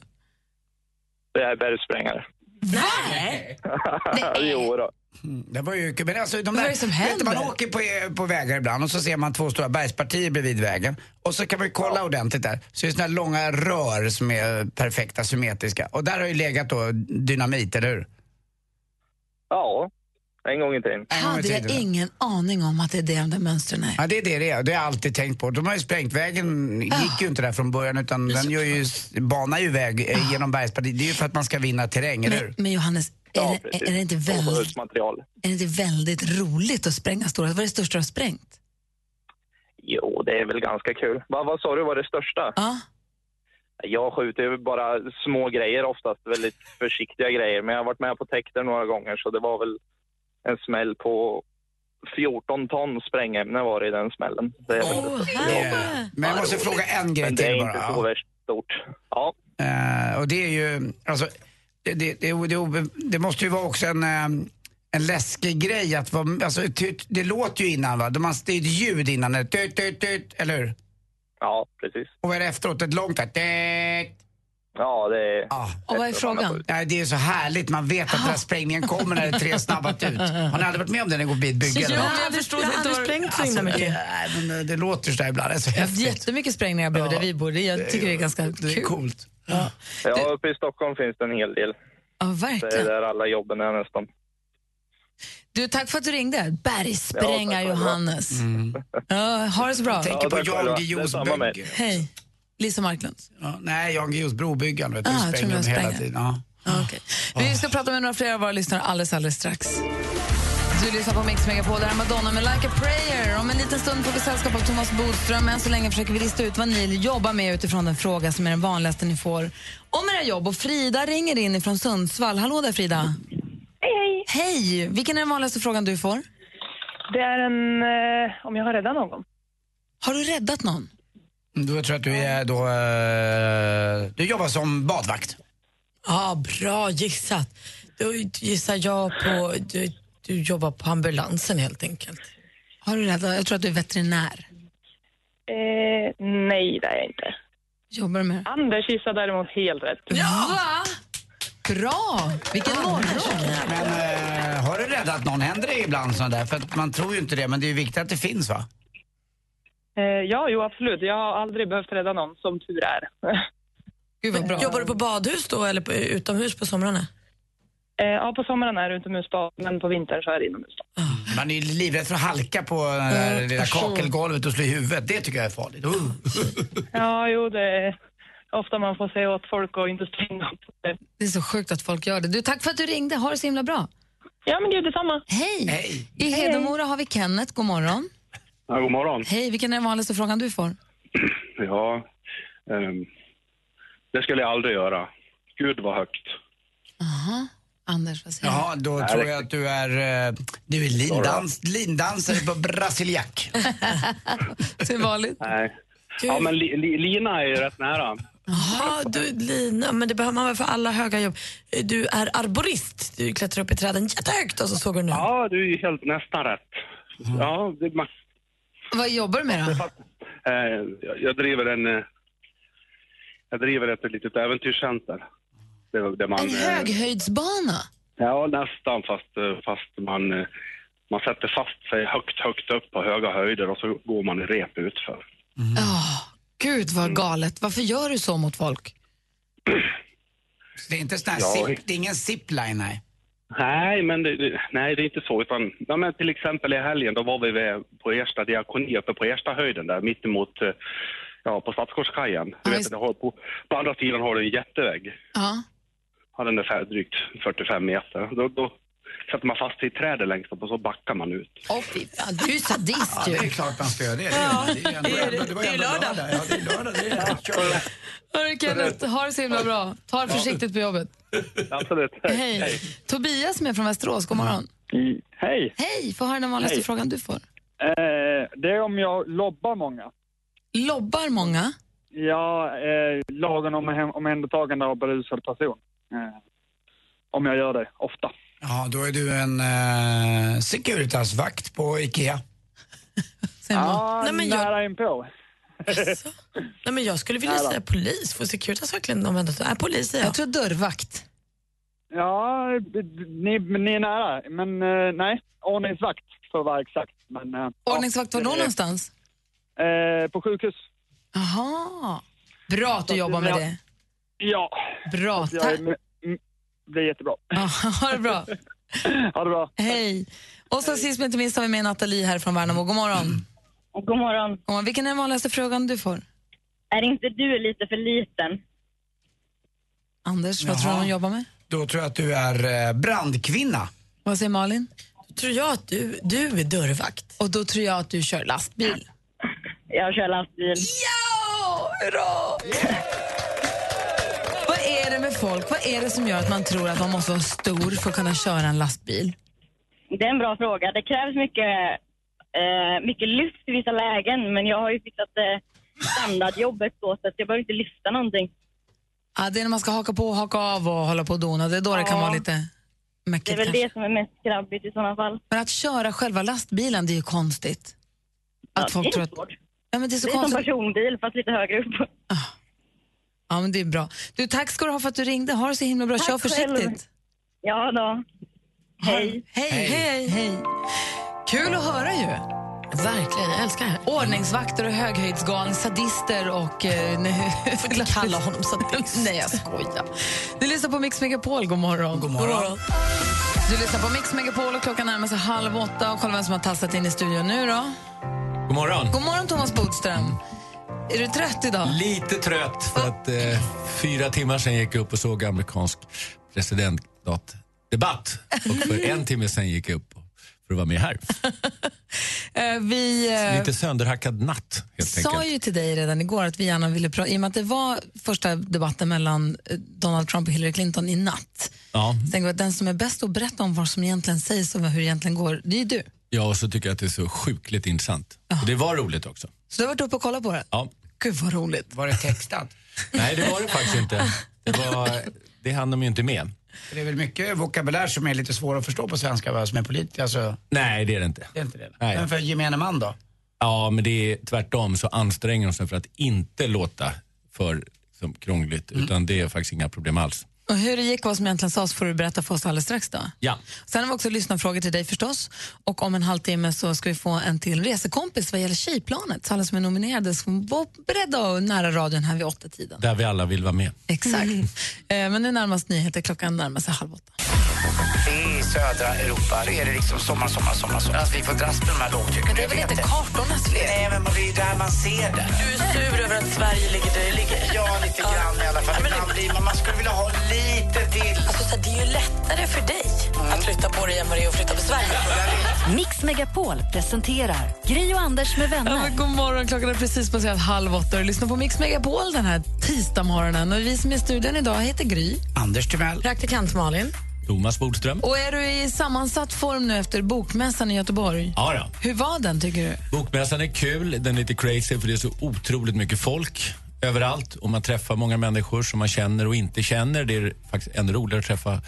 Jag är bergsprängare.
Nej!
jo då.
Det var ju, men alltså, de
Vad
där,
är det som
vet du,
händer?
Man åker på, på vägar ibland och så ser man två stora bergspartier bredvid vägen. Och så kan man ju kolla ordentligt där. Så är det såna här långa rör som är perfekta, symmetriska. Och där har ju legat då dynamit, eller hur?
Ja, en gång i tiden.
Hade jag ingen aning om att det är det de där mönstren är.
Ja, det är det det är. Det har jag alltid tänkt på. De har ju sprängt vägen.
Ah.
gick ju inte där från början utan den gör ju, banar ju väg eh, genom bergspartiet. Det är ju för att man ska vinna terräng, eller hur?
Ah. Men, men Johannes, är,
Ja,
det,
precis.
är, det inte väldigt,
Material.
är det inte väldigt roligt att spränga stora? Vad är det största du har sprängt?
Jo, det är väl ganska kul. Vad, vad sa du var det största?
Ja.
Jag skjuter ju bara små grejer oftast, väldigt försiktiga grejer. Men jag har varit med på täkter några gånger så det var väl en smäll på 14 ton sprängämne var det i den smällen. Det är väl det största jag har varit med om.
Men jag måste fråga en grej
Men det är
till
inte
bara.
så värst stort. Ja.
Eh, och det är ju, alltså, det, det, det, det, obe- det måste ju vara också en, eh, en läskig grej att vara, alltså, det, det låter ju innan va? De har- Det är ett ljud innan, det, tut, tut, tut, eller hur?
Ja, precis.
Och vad är det efteråt? Ett långt där, tut.
Ja, det är...
Och vad är frågan? Ah.
Nej, det är så härligt, man vet att den här sprängningen kommer när det är tre snabba tut. Har ni aldrig varit med om det när ni går vid ett bygge?
Jo,
eller
jag
något?
hade- förstår jag inte hade var- sprängt så himla
Alltså,
mycket.
nej, men, eh, Det låter sådär ibland, det är så
Jag har haft
häftigt.
jättemycket sprängningar bredvid där vi bor. Det, jag tycker det är ganska kul.
Det är coolt.
Ja, uppe i Stockholm finns det en hel del.
Ja,
Det är
verkligen.
där alla jobben är nästan.
Du, tack för att du ringde. Bergsprängar
Ja, tack själva.
Johannes. Ja, ha det så bra.
Jag Mm. tänker på Jan Guillous bygge.
Hej. Lisa Marklund.
Ja, nej, Jan Guillous brobyggan, vet du,
Ah, jag tror
spränger
de
de hela
spränger.
tiden. Ja.
Vi ska prata med några fler av våra lyssnare alldeles, alldeles strax. Du lyssnar på Mix Megapol, det här är Madonna med Like a prayer. Om en liten stund får vi sällskap av Thomas Bodström. Än så länge försöker vi lista ut vad ni jobbar med utifrån den fråga som är den vanligaste ni får om era jobb. Och Frida ringer in ifrån Sundsvall. Hallå där Frida!
Hej,
hej! Hej! Vilken är den vanligaste frågan du får?
Det är en... eh, om jag har räddat någon.
Har du räddat någon?
Då tror jag att Mm, du är då... eh, Du jobbar som badvakt.
Ja, bra gissat. Då gissar jag på... Du, du jobbar på ambulansen helt enkelt.
Har du räddat? Jag tror att du är veterinär.
Eh, nej, det är jag inte.
Jobbar du med
Anders gissar däremot helt rätt.
Ja! Va? Bra! Vilken morgon!
Men eh, har du räddat någon? Händer det ibland sånt där? För att man tror ju inte det, men det är ju viktigt att det finns va?
Eh, ja, jo, absolut. Jag har aldrig behövt rädda någon, som tur är.
Gud
vad bra. Jobbar du på badhus då eller på, utomhus på somrarna?
Eh, ja, på sommaren är det utomhusbad, men på vintern så är det inomhusbad.
Ah.
Man är ju livrädd för att halka på eh, det där lilla kakelgolvet och slå i huvudet. Det tycker jag är farligt. Uh.
Ja, jo, det är ofta man får säga åt folk att inte springa upp.
Det är så sjukt att folk gör det. Du, tack för att du ringde. Ha det så himla bra.
Ja, men gud detsamma.
Hej!
Hej.
I Hedemora har vi Kenneth. God morgon.
Ja, god morgon.
Hej, vilken är den vanligaste frågan du får?
Ja, ehm, det skulle jag aldrig göra. Gud vad högt.
Aha. Anders, vad säger du?
Jaha, då
Nej,
tror
det-
jag att du är, eh, du är lindans, lindansare på brasiliak.
Det är vanligt.
Nej. Ja, men li, li, lina är ju rätt nära.
Jaha, du Lina, men det behöver man väl för alla höga jobb. Du är arborist, du klättrar upp i träden jättehögt och så såg du nu.
Ja, du är ju helt nästan rätt. Ja, det, man,
Vad jobbar du med då?
eh, jag- jag driver en... eh, Jag driver ett litet äventyrscenter. Det, var- där man,
En
eh,
höghöjdsbana?
Ja, nästan fast, eh, fast man, eh, man sätter fast sig högt, högt upp på höga höjder och så går man i rep utför.
Åh, Gud vad galet. Varför gör du så mot folk?
Så Det är inte sån här
Ja.
zip, det är ingen zipline, nej.
Nej, men det, det- nej, det är inte så. Utan, ja, men till exempel i helgen då var vi vid, på Ersta diakoni, uppe på Ersta höjden där, mittemot eh, ja, på Stadsgårdskajen. Du vet, det har, på, på andra sidan har du en jättevägg.
Ja.
Ja, den är fär, drygt 45 meter. Då, då sätter man fast sig i trädet längst upp och så backar man ut.
Åh, fy fan, du är sadist
Ja,
ju.
det är klart man ska göra det. Det är-
Ja,
det är ändå-
det är-
ändå- det var
det är
ändå
lördag.
lördag. Ja, det är lördag. Det är kör.
Hörru Kenneth, ha det så himla bra. Ta det försiktigt på jobbet.
Absolut.
Hej. Tobias med från Västerås, god morgon.
I- Hej!
Hej, få höra den vanligaste
Hej.
frågan du får.
Eh, det är om jag lobbar många.
Lobbar många?
Ja, eh, lagen om hem- omhändertagande av berusad person. Eh, om jag gör det ofta.
Ja, då är du en eh, Securitas-vakt på Ikea.
Ah,
Ja,
Nej, men jag-
nära inpå.
Jaså? Nej, men jag skulle vilja
Ja, då.
säga polis. Får Securitas verkligen använda det? Nej, polis säger
Jag tror dörrvakt.
Ja, d- d- ni, men ni är nära. Men eh, nej, ordningsvakt för att vara exakt. Men, eh,
Ordningsvakt var
ja,
då
eh,
någonstans?
Eh, på sjukhus.
Jaha. Bra att du jobbar med
Ja.
det.
Ja.
Bra,
Jag
tack.
är med- mm, Det är jättebra.
ha det bra.
Ha det bra.
Hej. Och så sist men inte minst har vi med Nathalie här från Värnamo. God morgon.
God morgon.
Vilken är den vanligaste frågan du får?
Är inte du lite för liten?
Anders, vad
Jaha.
tror du hon jobbar med?
Då tror jag att du är eh, brandkvinna.
Vad säger Malin?
Då tror jag att du, du är dörrvakt.
Och då tror jag att du kör lastbil.
Jag kör lastbil.
Ja! Hurra! Vad är det med folk? Vad är det som gör att man tror att man måste vara stor för att kunna köra en lastbil?
Det är en bra fråga. Det krävs mycket, eh, mycket lyft i vissa lägen, men jag har ju fixat eh, standardjobbet då, så att jag behöver inte lyfta någonting.
Ja, det är när man ska haka på och haka av och hålla på och dona. Det är då det kan
Ja.
vara lite mäckigt
Det är väl
kanske.
det som är mest grabbigt i sådana fall.
Men att köra själva lastbilen, det är ju konstigt. Att
det är
folk tror att... Ja, men det är så
det är
konstigt.
som personbil, fast lite högre upp.
Ja, men det är bra. Du, tack ska du ha för att du ringde. Ha det så himla bra. Kör
själv.
försiktigt.
Ja då. Hej.
Hej, hej, hej. Kul att höra ju. Verkligen, jag älskar det här. Ordningsvakter och höghöjdsgalning, sadister och... Eh, nej. Jag får inte kalla honom sadist. nej, jag skojar. Du lyssnar på Mix Megapol. God morgon. God
morgon.
Du lyssnar på Mix Megapol och klockan närmar sig halv åtta. Och kolla vem som har tassat in i studion nu då.
God morgon.
God morgon, Thomas Bodström. Är du trött idag?
Lite trött för att eh, fyra timmar sedan gick jag upp och såg amerikansk presidentdebatt. Och för en timme sedan gick jag upp för att vara med här.
Eh, vi... eh,
Lite sönderhackad natt helt
sa
enkelt.
ju till dig redan igår att vi gärna ville prata, i och med att det var första debatten mellan eh, Donald Trump och Hillary Clinton i natt.
Ja.
Så tänker vi att den som är bäst att berätta om vad som egentligen sägs och hur det egentligen går, det är ju du.
ja, och så tycker jag att det är så sjukligt intressant. Och det var roligt också.
Så du har varit uppe och kollat på det?
Ja.
Gud vad roligt.
Var det textat?
Nej, det var det faktiskt inte. Det, var, det hann de ju inte med.
Det är väl mycket vokabulär som är lite svår att förstå på svenska, vad som är politiskt. Alltså,
Nej, det är det inte.
det är inte det.
Nej.
Men för gemene man då?
Ja, men det är tvärtom så anstränger de sig för att inte låta för som krångligt.
Mm.
Utan det är faktiskt inga problem alls.
Och hur det gick och vad som egentligen sades får du berätta för oss alldeles strax då.
Ja.
Sen har vi också lyssnarfrågor till dig förstås. Och om en halvtimme så ska vi få en till resekompis vad gäller Tjejplanet. Så alla som är nominerade ska vara beredda och nära radion här vid åtta tiden.
Där vi alla vill vara med.
Exakt. Eh, Men nu närmast nyheter, klockan närmar sig halv åtta.
I södra Europa är det liksom sommar, sommar, sommar. sommar. Alltså, vi får dras med de här lågtrycken.
Men det är väl inte kartornas fel?
Nej, men det är ju där man ser det.
Du är sur över att Sverige ligger där det ligger?
Ja, lite grann i alla fall. Ibland blir man, man skulle vilja ha lite till.
Alltså, så här, det är ju lättare för dig
Mm.
att flytta på dig än vad det är att flytta på Sverige.
Mix Megapol presenterar Gri och Anders med
Ja,
vänner.
men god morgon, klockan är precis passerat halv åtta och lyssnar på Mix Megapol den här tisdagsmorgonen. Och vi som är i studion idag heter Gry.
Anders Timell.
Praktikant Malin.
Thomas Bodström.
Och är du i sammansatt form nu efter Bokmässan i Göteborg?
Ja, då.
Hur var den tycker du?
Bokmässan är kul, den är lite crazy för det är så otroligt mycket folk överallt och man träffar många människor som man känner och inte känner. Det är faktiskt ännu roligare att träffa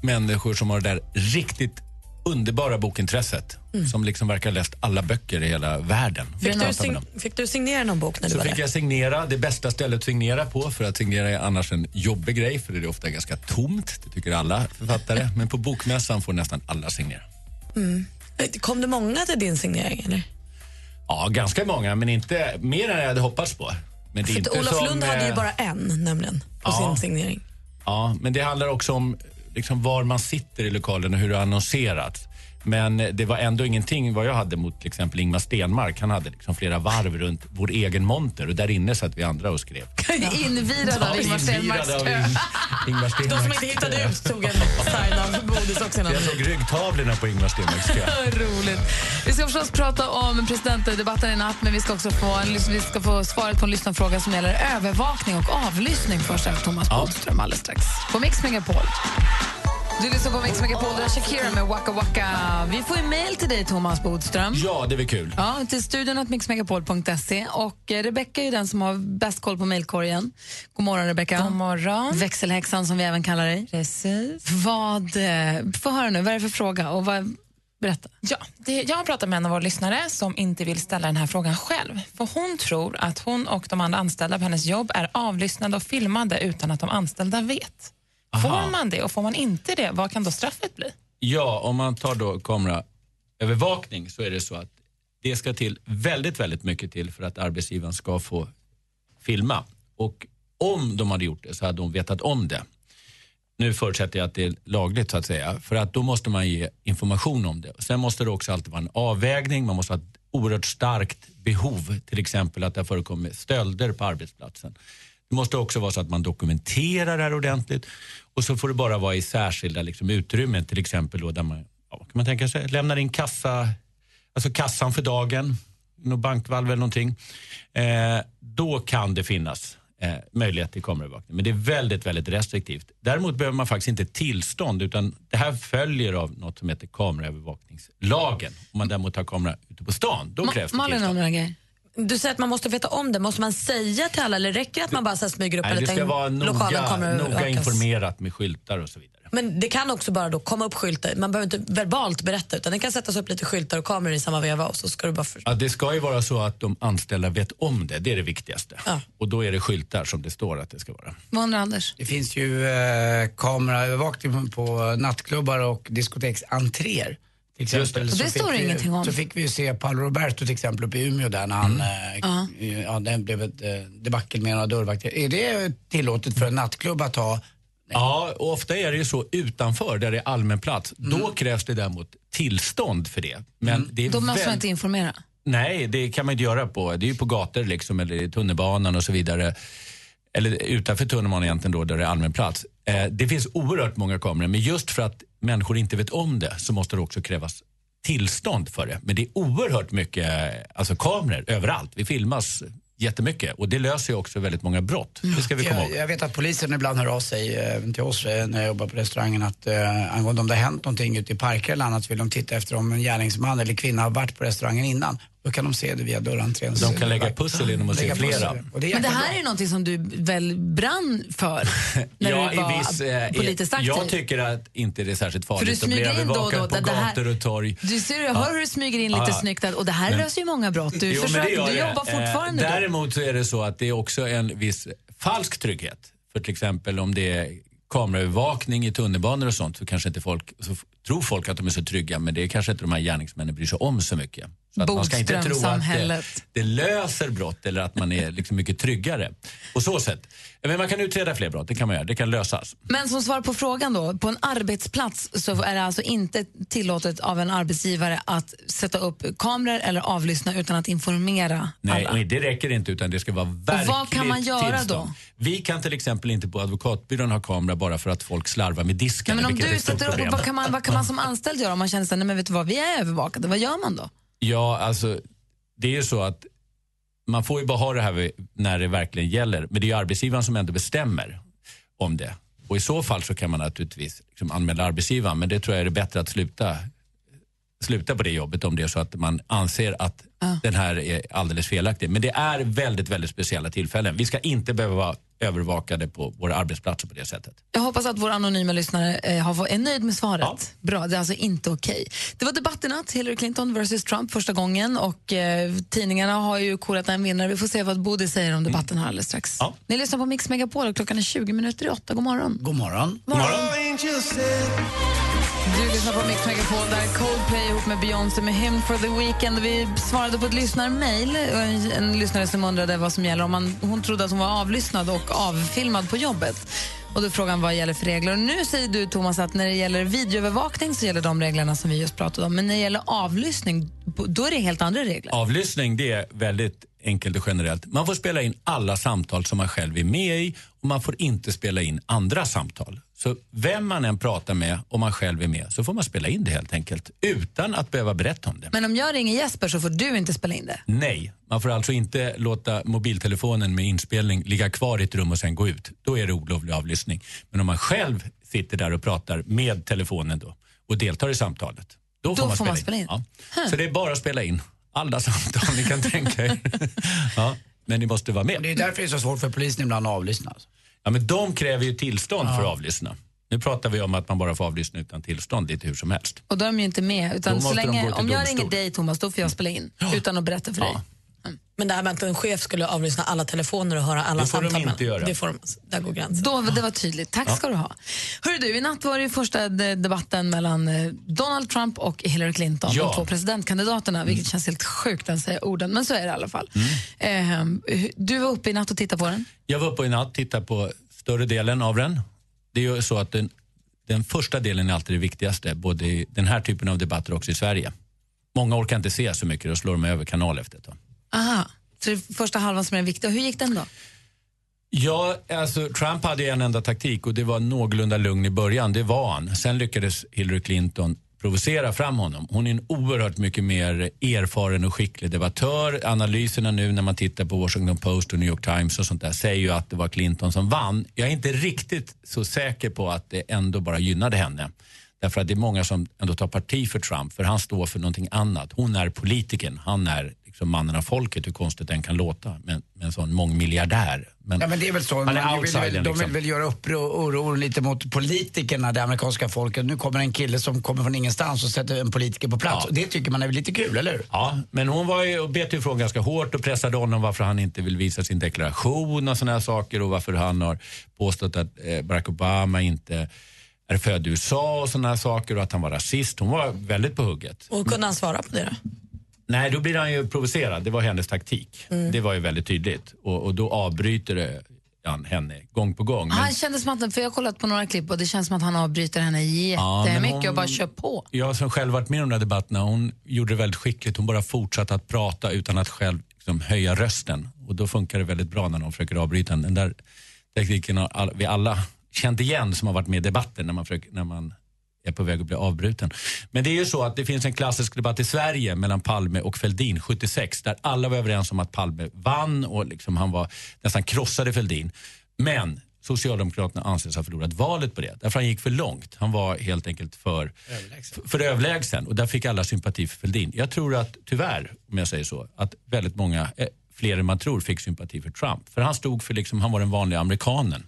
människor som har det där riktigt underbara bokintresset
Mm.
som liksom verkar ha läst alla böcker i hela världen.
Fick
Pratar
du,
med
sign-
dem.
fick du signera någon bok när du
Så
var
fick
där?
jag signera, det bästa stället att signera på för att signera är annars en jobbig grej för det är ofta ganska tomt, det tycker alla författare. Men på bokmässan får nästan alla signera.
Mm. Kom det många till din signering? Eller?
Ja, ganska många, men inte mer än jag hade hoppats på. Men det är
För
inte
att Olof
som,
Lund hade ju
eh,
bara en nämligen på
Ja.
sin signering.
Ja, men det handlar också om liksom, var man sitter i lokalen och hur det har annonserats. Men eh, det var ändå ingenting vad jag hade mot till exempel Ingmar Stenmark. Han hade liksom flera varv runt vår egen monter och där inne satt vi andra och skrev.
Invirad av Ingmar Stenmarks
Invirad av
kö.
Ing- Ingmar
De som
Stenmarks
inte hittade
kö.
ut tog en sign av Bodis. faktiskt också en
Jag
annan
såg ryggtavlorna på Ingmar Stenmarks kö.
Roligt. Vi ska förstås prata om presidentdebatten i natt men vi ska också få, en, vi ska få svaret på en lyssnarfråga som gäller övervakning och avlyssning först efter Thomas Bodström alldeles strax. På Mix Megapol. Du lyssnar på Mix Megapol, där är Shakira med Waka Waka. Vi får ju mejl till dig, Thomas Bodström.
Ja, det är väl kul.
Ja, till studion att mixmegapol.se. Och eh, Rebecka är ju den som har bäst koll på mejlkorgen. God morgon, Rebecka. God morgon. Växelhäxan, som vi även kallar dig. Precis. Vad, eh, få höra nu, vad är det för fråga? Och vad, berätta.
Ja, det, jag har pratat med en av våra lyssnare som inte vill ställa den här frågan själv. För Hon tror att hon och de andra anställda på hennes jobb är avlyssnade och filmade utan att de anställda vet.
Aha.
Får man det och får man inte det, vad kan då straffet bli?
Ja, om man tar då kameraövervakning så är det så att det ska till väldigt, väldigt mycket till för att arbetsgivaren ska få filma. Och om de hade gjort det så hade de vetat om det. Nu förutsätter jag att det är lagligt så att säga. För att då måste man ge information om det. Sen måste det också alltid vara en avvägning. Man måste ha ett oerhört starkt behov. Till exempel att det har förekommit stölder på arbetsplatsen. Det måste också vara så att man dokumenterar det här ordentligt. Och så får det bara vara i särskilda liksom, utrymmen. Till exempel då där man, ja, kan man tänka sig, lämnar in kassa, alltså kassan för dagen. Något bankvalv eller någonting. Eh, då kan det finnas eh, möjlighet till kameraövervakning. Men det är väldigt, väldigt restriktivt. Däremot behöver man faktiskt inte tillstånd utan det här följer av något som heter kameraövervakningslagen. Om man däremot har kamera ute på stan, då krävs det tillstånd.
Malin har några grejer.
Du säger att man måste veta om det. Måste man säga till alla eller räcker det att man bara så här smyger upp en
Nej, det ska
liten-
vara
lokalen
noga,
kommer att
noga
ökas?
informerat med skyltar och så vidare.
Men det kan också bara då komma upp skyltar. Man behöver inte verbalt berätta utan det kan sättas upp lite skyltar och kameror i samma veva och så ska du bara för...
Ja, det ska ju vara så att de anställda vet om det. Det är det viktigaste. Och då är det skyltar som det står att det ska vara.
Vad undrar Anders?
Det finns ju eh, kameraövervakning på, på nattklubbar och diskoteks entréer. Till
Just det.
exempel,
Och det
så fick
står det
vi,
ingenting om.
Så fick vi ju se Paolo Roberto till exempel uppe i Umeå där när han, eh, ja, det blev ett eh, debacle med några dörrvakter. Är det tillåtet för en nattklubb att ha
Ja, och ofta är det ju så utanför där det är allmän plats. Då krävs det däremot tillstånd för det. Men det är
Då måste man
väl-
inte informera.
Nej, det kan man inte göra på. Det är ju på gator liksom, eller i tunnelbanan och så vidare. Eller utanför tunnelbanan egentligen då, där det är allmän plats. Eh, det finns oerhört många kameror, men just för att människor inte vet om det så måste det också krävas tillstånd för det. Men det är oerhört mycket eh, alltså kameror överallt. Vi filmas jättemycket och det löser ju också väldigt många brott. Det ska vi komma
jag,
ihåg.
jag vet att polisen ibland hör av sig eh, till oss eh, när jag jobbar på restaurangen att eh, angående om det har hänt någonting ute i parker eller annat vill de titta efter om en gärningsman eller kvinna har varit på restaurangen innan. Då kan de se det via dörrentrén.
De kan lägga pussel genom att se
Lägga pussel.
flera.
Och det är
Men det
jäkla
här är någonting som du väl brann för när du var
eh, i-
politiskt aktiv?
jag tycker att inte det är särskilt
För du
farligt att bli
smyger in då och
övervakad
då,
på
det här-
gator och torg.
Du ser, jag
Ja.
hör hur du smyger in lite
Ja.
snyggt där, och det här
Men-
löser ju många brott. Du,
Jo, men
försöker,
det gör
du
det.
jobbar fortfarande
Eh,
då.
Däremot så är det så att det är också en viss falsk trygghet. För till exempel om det är kameraövervakning i tunnelbanor och sånt så kanske inte folk, så f- tror folk att de är så trygga men det är kanske inte de här gärningsmännen bryr sig om så mycket. Så att man ska inte tro att det,
Bodströmsamhället.
det löser brott eller att man är liksom mycket tryggare. På så sätt. Men man kan utreda fler brott, det kan man göra, det kan lösas.
Men som svar på frågan då, på en arbetsplats så är det alltså inte tillåtet av en arbetsgivare att sätta upp kameror eller avlyssna utan att informera
Nej,
alla.
nej, det räcker inte utan det ska vara verkligt
vad kan man göra
tillstånd.
då?
Vi kan till exempel inte på advokatbyrån ha kamera bara för att folk slarvar med
Nej,
disken.
men om
vilket är
du
ett stort
sätter upp,
problem.
vad kan, man, vad kan man som anställd göra om man känner sig, nej men vet du vad, vi är övervakade, vad gör man då?
Ja, alltså det är ju så att man får ju bara ha det här vid- när det verkligen gäller. Men det är ju arbetsgivaren som ändå bestämmer om det. Och i så fall så kan man naturligtvis liksom anmäla arbetsgivaren. Men det tror jag är det bättre att sluta, sluta på det jobbet om det är så att man anser att den här är alldeles felaktig. Men det är väldigt, väldigt speciella tillfällen. Vi ska inte behöva vara övervakade på våra arbetsplatser på det sättet.
Jag hoppas att vår anonyma lyssnare eh, har, är nöjd med svaret. Bra, det är alltså inte okej. Det var debatt i natt, Hillary Clinton versus Trump första gången och eh, tidningarna har ju korat en vinnare. Vi får se vad Bodil säger om debatten här alldeles strax. Ni lyssnar på Mix Megapol och klockan är 20 minuter i åtta. God morgon.
God morgon.
Du lyssnar på Mix Megapol där Coldplay ihop med Beyoncé med Hymn for the Weekend. Vi svarade på ett lyssnarmail. En, en lyssnare som undrade vad som gäller om man, hon trodde att hon var avlyssnad och avfilmad på jobbet. Och då frågan vad gäller för regler. Och nu säger du Thomas att när det gäller videoövervakning så gäller de reglerna som vi just pratade om. Men när det gäller avlyssning, bo- då är det helt andra regler.
Avlyssning det är väldigt enkelt och generellt. Man får spela in alla samtal som man själv är med i och man får inte spela in andra samtal. Så vem man än pratar med, om man själv är med, så får man spela in det helt enkelt utan att behöva berätta om det.
Men om jag ringer Jesper så får du inte spela in det.
Nej, man får alltså inte låta mobiltelefonen med inspelning ligga kvar i ett rum och sen gå ut. Då är det olovlig avlyssning. Men om man själv sitter där och pratar med telefonen då och deltar i samtalet, då får
Då
man
får
spela
man
in.
spela in.
Ja. Så det är bara att spela in alla samtal ni kan tänka er. Ja, men ni måste vara med.
Det är därför det är så svårt för polisen ibland att avlyssna. alltså.
Ja, men de kräver ju tillstånd
Ja.
för att avlyssna. Nu pratar vi om att man bara får avlyssna utan tillstånd lite hur som helst.
Och då är de ju inte med.
Då
Utan så
måste de gå
länge,
till
om jag
domstol.
ringer dig, Thomas, då får jag spela in. Utan att berätta för dig. Mm.
Men det här med att en chef skulle avlyssna alla telefoner och höra alla
Det får de
samtal.
inte
mellan-
göra.
Det får de, där går gränsen.
Då, det var tydligt. Tack
Ja.
ska du ha. Hörru du, i natt var det ju första de- debatten mellan eh, Donald Trump och Hillary Clinton,
Ja.
de två presidentkandidaterna, vilket känns helt sjukt att säga orden, men så är det i alla fall.
Mm.
Eh, hu- du var uppe i natt och tittade på den.
Jag var uppe i natt och tittade på större delen av den. Det är ju så att den, den första delen är alltid det viktigaste, både i den här typen av debatter och också i Sverige. Många orkar inte se så mycket, då slår de över kanal efter ett tag.
Aha. Så det är första halvan som är viktig. Och Hur gick den då?
Ja, alltså Trump hade ju en enda taktik och det var någorlunda lugn i början. Det var han. Sen lyckades Hillary Clinton provocera fram honom. Hon är en oerhört mycket mer erfaren och skicklig debattör. Analyserna nu när man tittar på Washington Post och New York Times och sånt där säger ju att det var Clinton som vann. Jag är inte riktigt så säker på att det ändå bara gynnade henne. Därför att det är många som ändå tar parti för Trump för han står för någonting annat. Hon är politikern, han är liksom mannen av folket, hur konstigt den kan låta. Men, men en sån mångmiljardär. Men,
Ja, men det är väl så.
Han är
de vill, väl-
outsidern
de vill
liksom.
väl göra upproren lite mot politikerna, det amerikanska folket. Nu kommer en kille som kommer från ingenstans och sätter en politiker på plats. Och Det tycker man är väl lite kul, eller hur?
Ja, men hon var ju, och bet ju ifrån ganska hårt och pressade honom varför han inte vill visa sin deklaration och sådana här saker och varför han har påstått att eh, Barack Obama inte är född i USA och sådana här saker och att han var rasist. Hon var väldigt på hugget.
Och kunde han svara på det då?
Nej, då blir han ju provocerad. Det var hennes taktik. Det var ju väldigt tydligt. Och, och då avbryter det han henne gång på gång. Men-
Han kändes som att, för jag har kollat på några klipp och det känns som att han avbryter henne
Ja, men
jättemycket
hon-
och bara kör på.
Jag som själv varit med i de där debatterna, hon gjorde det väldigt skickligt. Hon bara fortsatte att prata utan att själv liksom höja rösten. Och då funkar det väldigt bra när någon försöker avbryta en. Den där tekniken har all, vi alla känt igen som har varit med i debatten när man, försöker, när man är på väg att bli avbruten. Men det är ju så att det finns en klassisk debatt i Sverige mellan Palme och Fälldin 76 där alla var överens om att Palme vann och liksom han var, nästan krossade Fälldin. Men Socialdemokraterna anses ha förlorat valet på det. Därför han gick för långt. Han var helt enkelt för överlägsen. För överlägsen och där fick alla sympati för Fälldin. Jag tror att, tyvärr, om jag säger så, att väldigt många, eh, fler än man tror, fick sympati för Trump. För han stod för, liksom, han var den vanliga amerikanen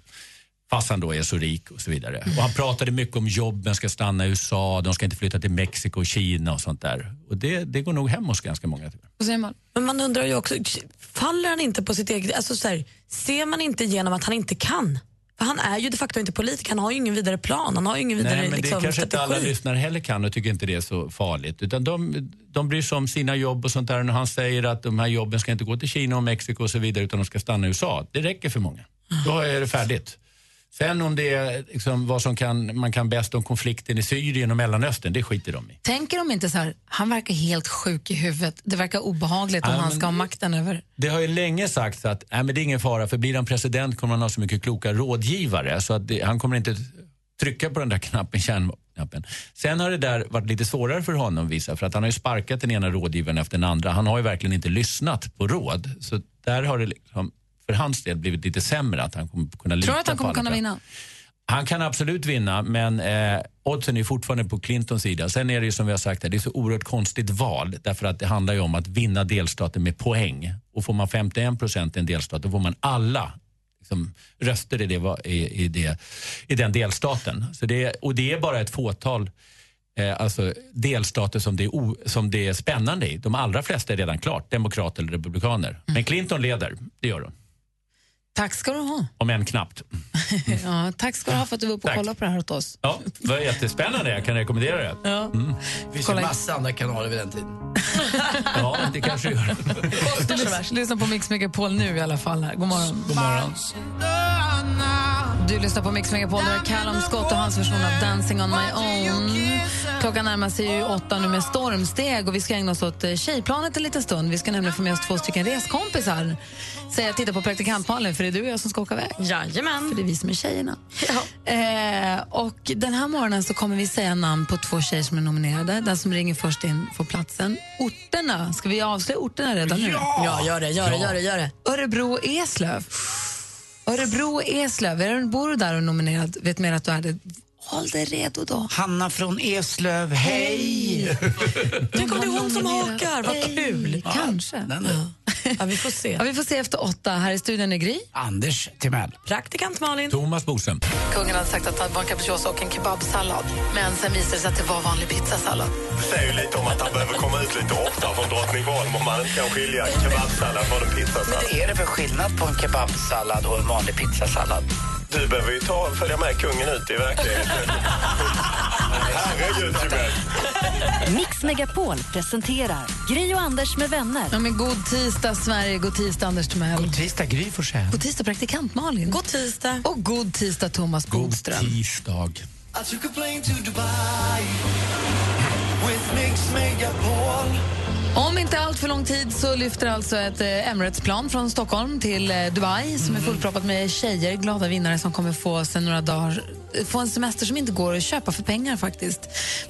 fast han då är så rik och så vidare. Och han pratade mycket om jobben ska stanna i USA, de ska inte flytta till Mexiko och Kina och sånt där. Och det, det går nog hem hos ganska många. tyvärr.
Men man undrar ju också, faller han inte på sitt eget... Alltså så här, ser man inte genom att han inte kan? För han är ju de facto inte politiker, han har ju ingen vidare plan, han har ju ingen vidare
Nej, men
liksom,
det kanske inte alla
strategi.
lyssnare heller kan och tycker inte det är så farligt. Utan de, de bryr sig om sina jobb och sånt där. Och När han säger att de här jobben ska inte gå till Kina och Mexiko och så vidare utan de ska stanna i USA. Det räcker för många. Då är det färdigt. Sen om det är liksom vad som kan, man kan bäst om konflikten i Syrien och Mellanöstern, det skiter de i.
Tänker de inte så här, han verkar helt sjuk i huvudet. Det verkar obehagligt om
Ja,
han
men-
ska ha makten över.
Det har ju länge sagts att nej, men det är ingen fara för blir han president kommer han ha så mycket kloka rådgivare så att det, han kommer inte trycka på den där knappen, kärnknappen. Sen har det där varit lite svårare för honom vissa för att han har ju sparkat den ena rådgivaren efter den andra. Han har ju verkligen inte lyssnat på råd. Så där har det liksom, för hans del blivit lite sämre att han kommer kunna lita
Tror du att han
på
kommer
alla
kunna
fem.
vinna?
Han kan absolut vinna, men eh, oddsen är fortfarande på Clintons sida. Sen är det ju som vi har sagt, här, det är så oerhört konstigt val därför att det handlar ju om att vinna delstaten med poäng. Och får man 51 procent i en delstat, då får man alla liksom, röster i, det, va- i, i, det, i den delstaten. Så det, är- och det är bara ett fåtal eh, alltså, delstater som det, är o, som det är spännande i. De allra flesta är redan klart, demokrater eller republikaner. Men Clinton leder, det gör hon.
Mm. Tack ska du ha.
Om än knappt.
Ja, tack ska du ha för att du var uppe och
Mm. Tack.
kollade på det här åt oss.
Ja, det var jättespännande. Jag kan rekommendera det.
Ja.
Mm.
Det finns ju massa andra kanaler vid den tiden.
Ja, det kanske gör.
Lyssna på Mix Megapol nu i alla fall. Här. God morgon.
God morgon.
Du lyssnar på Mix Megapol, där Callum Scott och hans version av Dancing on my own. Klockan närmar sig ju åtta nu med stormsteg och vi ska ägna oss åt eh, Tjejplanet en liten stund. Vi ska nämligen få med oss två stycken reskompisar. Säg att titta på praktikantmalen för det är du och jag som ska åka iväg. Jajamän. För det är vi som är tjejerna. Eh, och den här morgonen så kommer vi säga namn på två tjejer som är nominerade. Den som ringer först in får platsen. Orterna, ska vi avslöja orterna redan nu?
Ja, gör det, gör det, gör det, gör det.
Örebro och Eslöv. Örebro och Eslöv, är du- bor du där och nominerad, vet mer att du är det. Håll dig redo då.
Hanna från Eslöv, hej!
Tänk om det är hon som
hakar, vad
kul! Kanske.
Ja, vi får se.
Ja, vi får se efter åtta. Här i studion är Gry.
Anders Timell.
Praktikant Malin.
Thomas Bodström.
Kungen hade sagt att han var en capricciosa och en kebabsallad. Men sen visade det sig att det var vanlig pizzasallad.
Det säger ju lite om att han behöver komma ut lite oftare från Drottningholm om man inte kan skilja kebabsallad från en
Men
pizzasallad.
det är det för skillnad på en kebabsallad och en vanlig pizzasallad?
Du behöver ju ta, följa med kungen ut i verkligheten. Herregud, Timell.
Mix Megapol presenterar Gri och Anders med vänner.
Ja, men god tisdag, Sverige. God tisdag, Anders Timell. God
tisdag, Gry Forssell.
God tisdag, praktikant Malin. God tisdag. Och god tisdag, Thomas Bodström.
Tisdag.
I took a plane to Dubai with Mix Megapol.
Om inte allt för lång tid så lyfter alltså ett eh, Emirates-plan från Stockholm till eh, Dubai som är fullproppat med tjejer, glada vinnare som kommer få sen några dagar eh, få en semester som inte går att köpa för pengar faktiskt.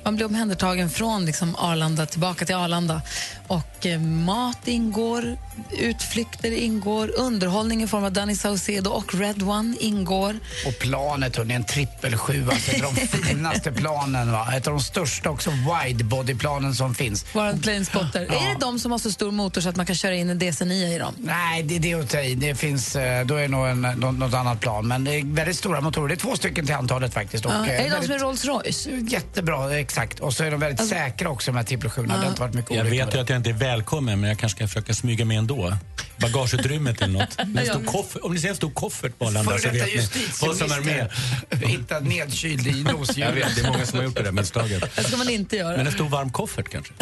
Man blir omhändertagen från liksom Arlanda tillbaka till Arlanda. Och eh, mat ingår, utflykter ingår, underhållning i form av Danny Saucedo och Red One ingår.
Och planet, hörni, en trippel sjua. Alltså, ett av de finaste planen, va? Ett av de största också widebody-planen som finns.
Bara en planespotter.
Ja.
Är det de som har så stor motor så att man kan köra in en DC9 i dem?
Nej, det, det är att ta i. Det finns, eh, då är det nog en, nå- något annat plan. Men det är väldigt stora motorer. Det är två stycken till antalet faktiskt. Och,
Ja,
eh,
är det de
väldigt-
som är Rolls Royce?
Jättebra, exakt. Och så är de väldigt
Alltså-
säkra också, de här trippel sjuorna. Det har inte varit mycket
Jag
olyckor
vet
med
ju att jag inte är välkommen, men jag kanske ska försöka smyga mig ändå. Bagageutrymmet eller något. Men en stor koffert, om ni ser en stor koffert på Arlanda så
Före detta
vet ni vad som är med.
justitieminister hittad nedkyld i
Jag
nosdjuret.
vet, det är många som har gjort det där misstaget.
Det ska man inte göra.
Men en stor varm koffert kanske?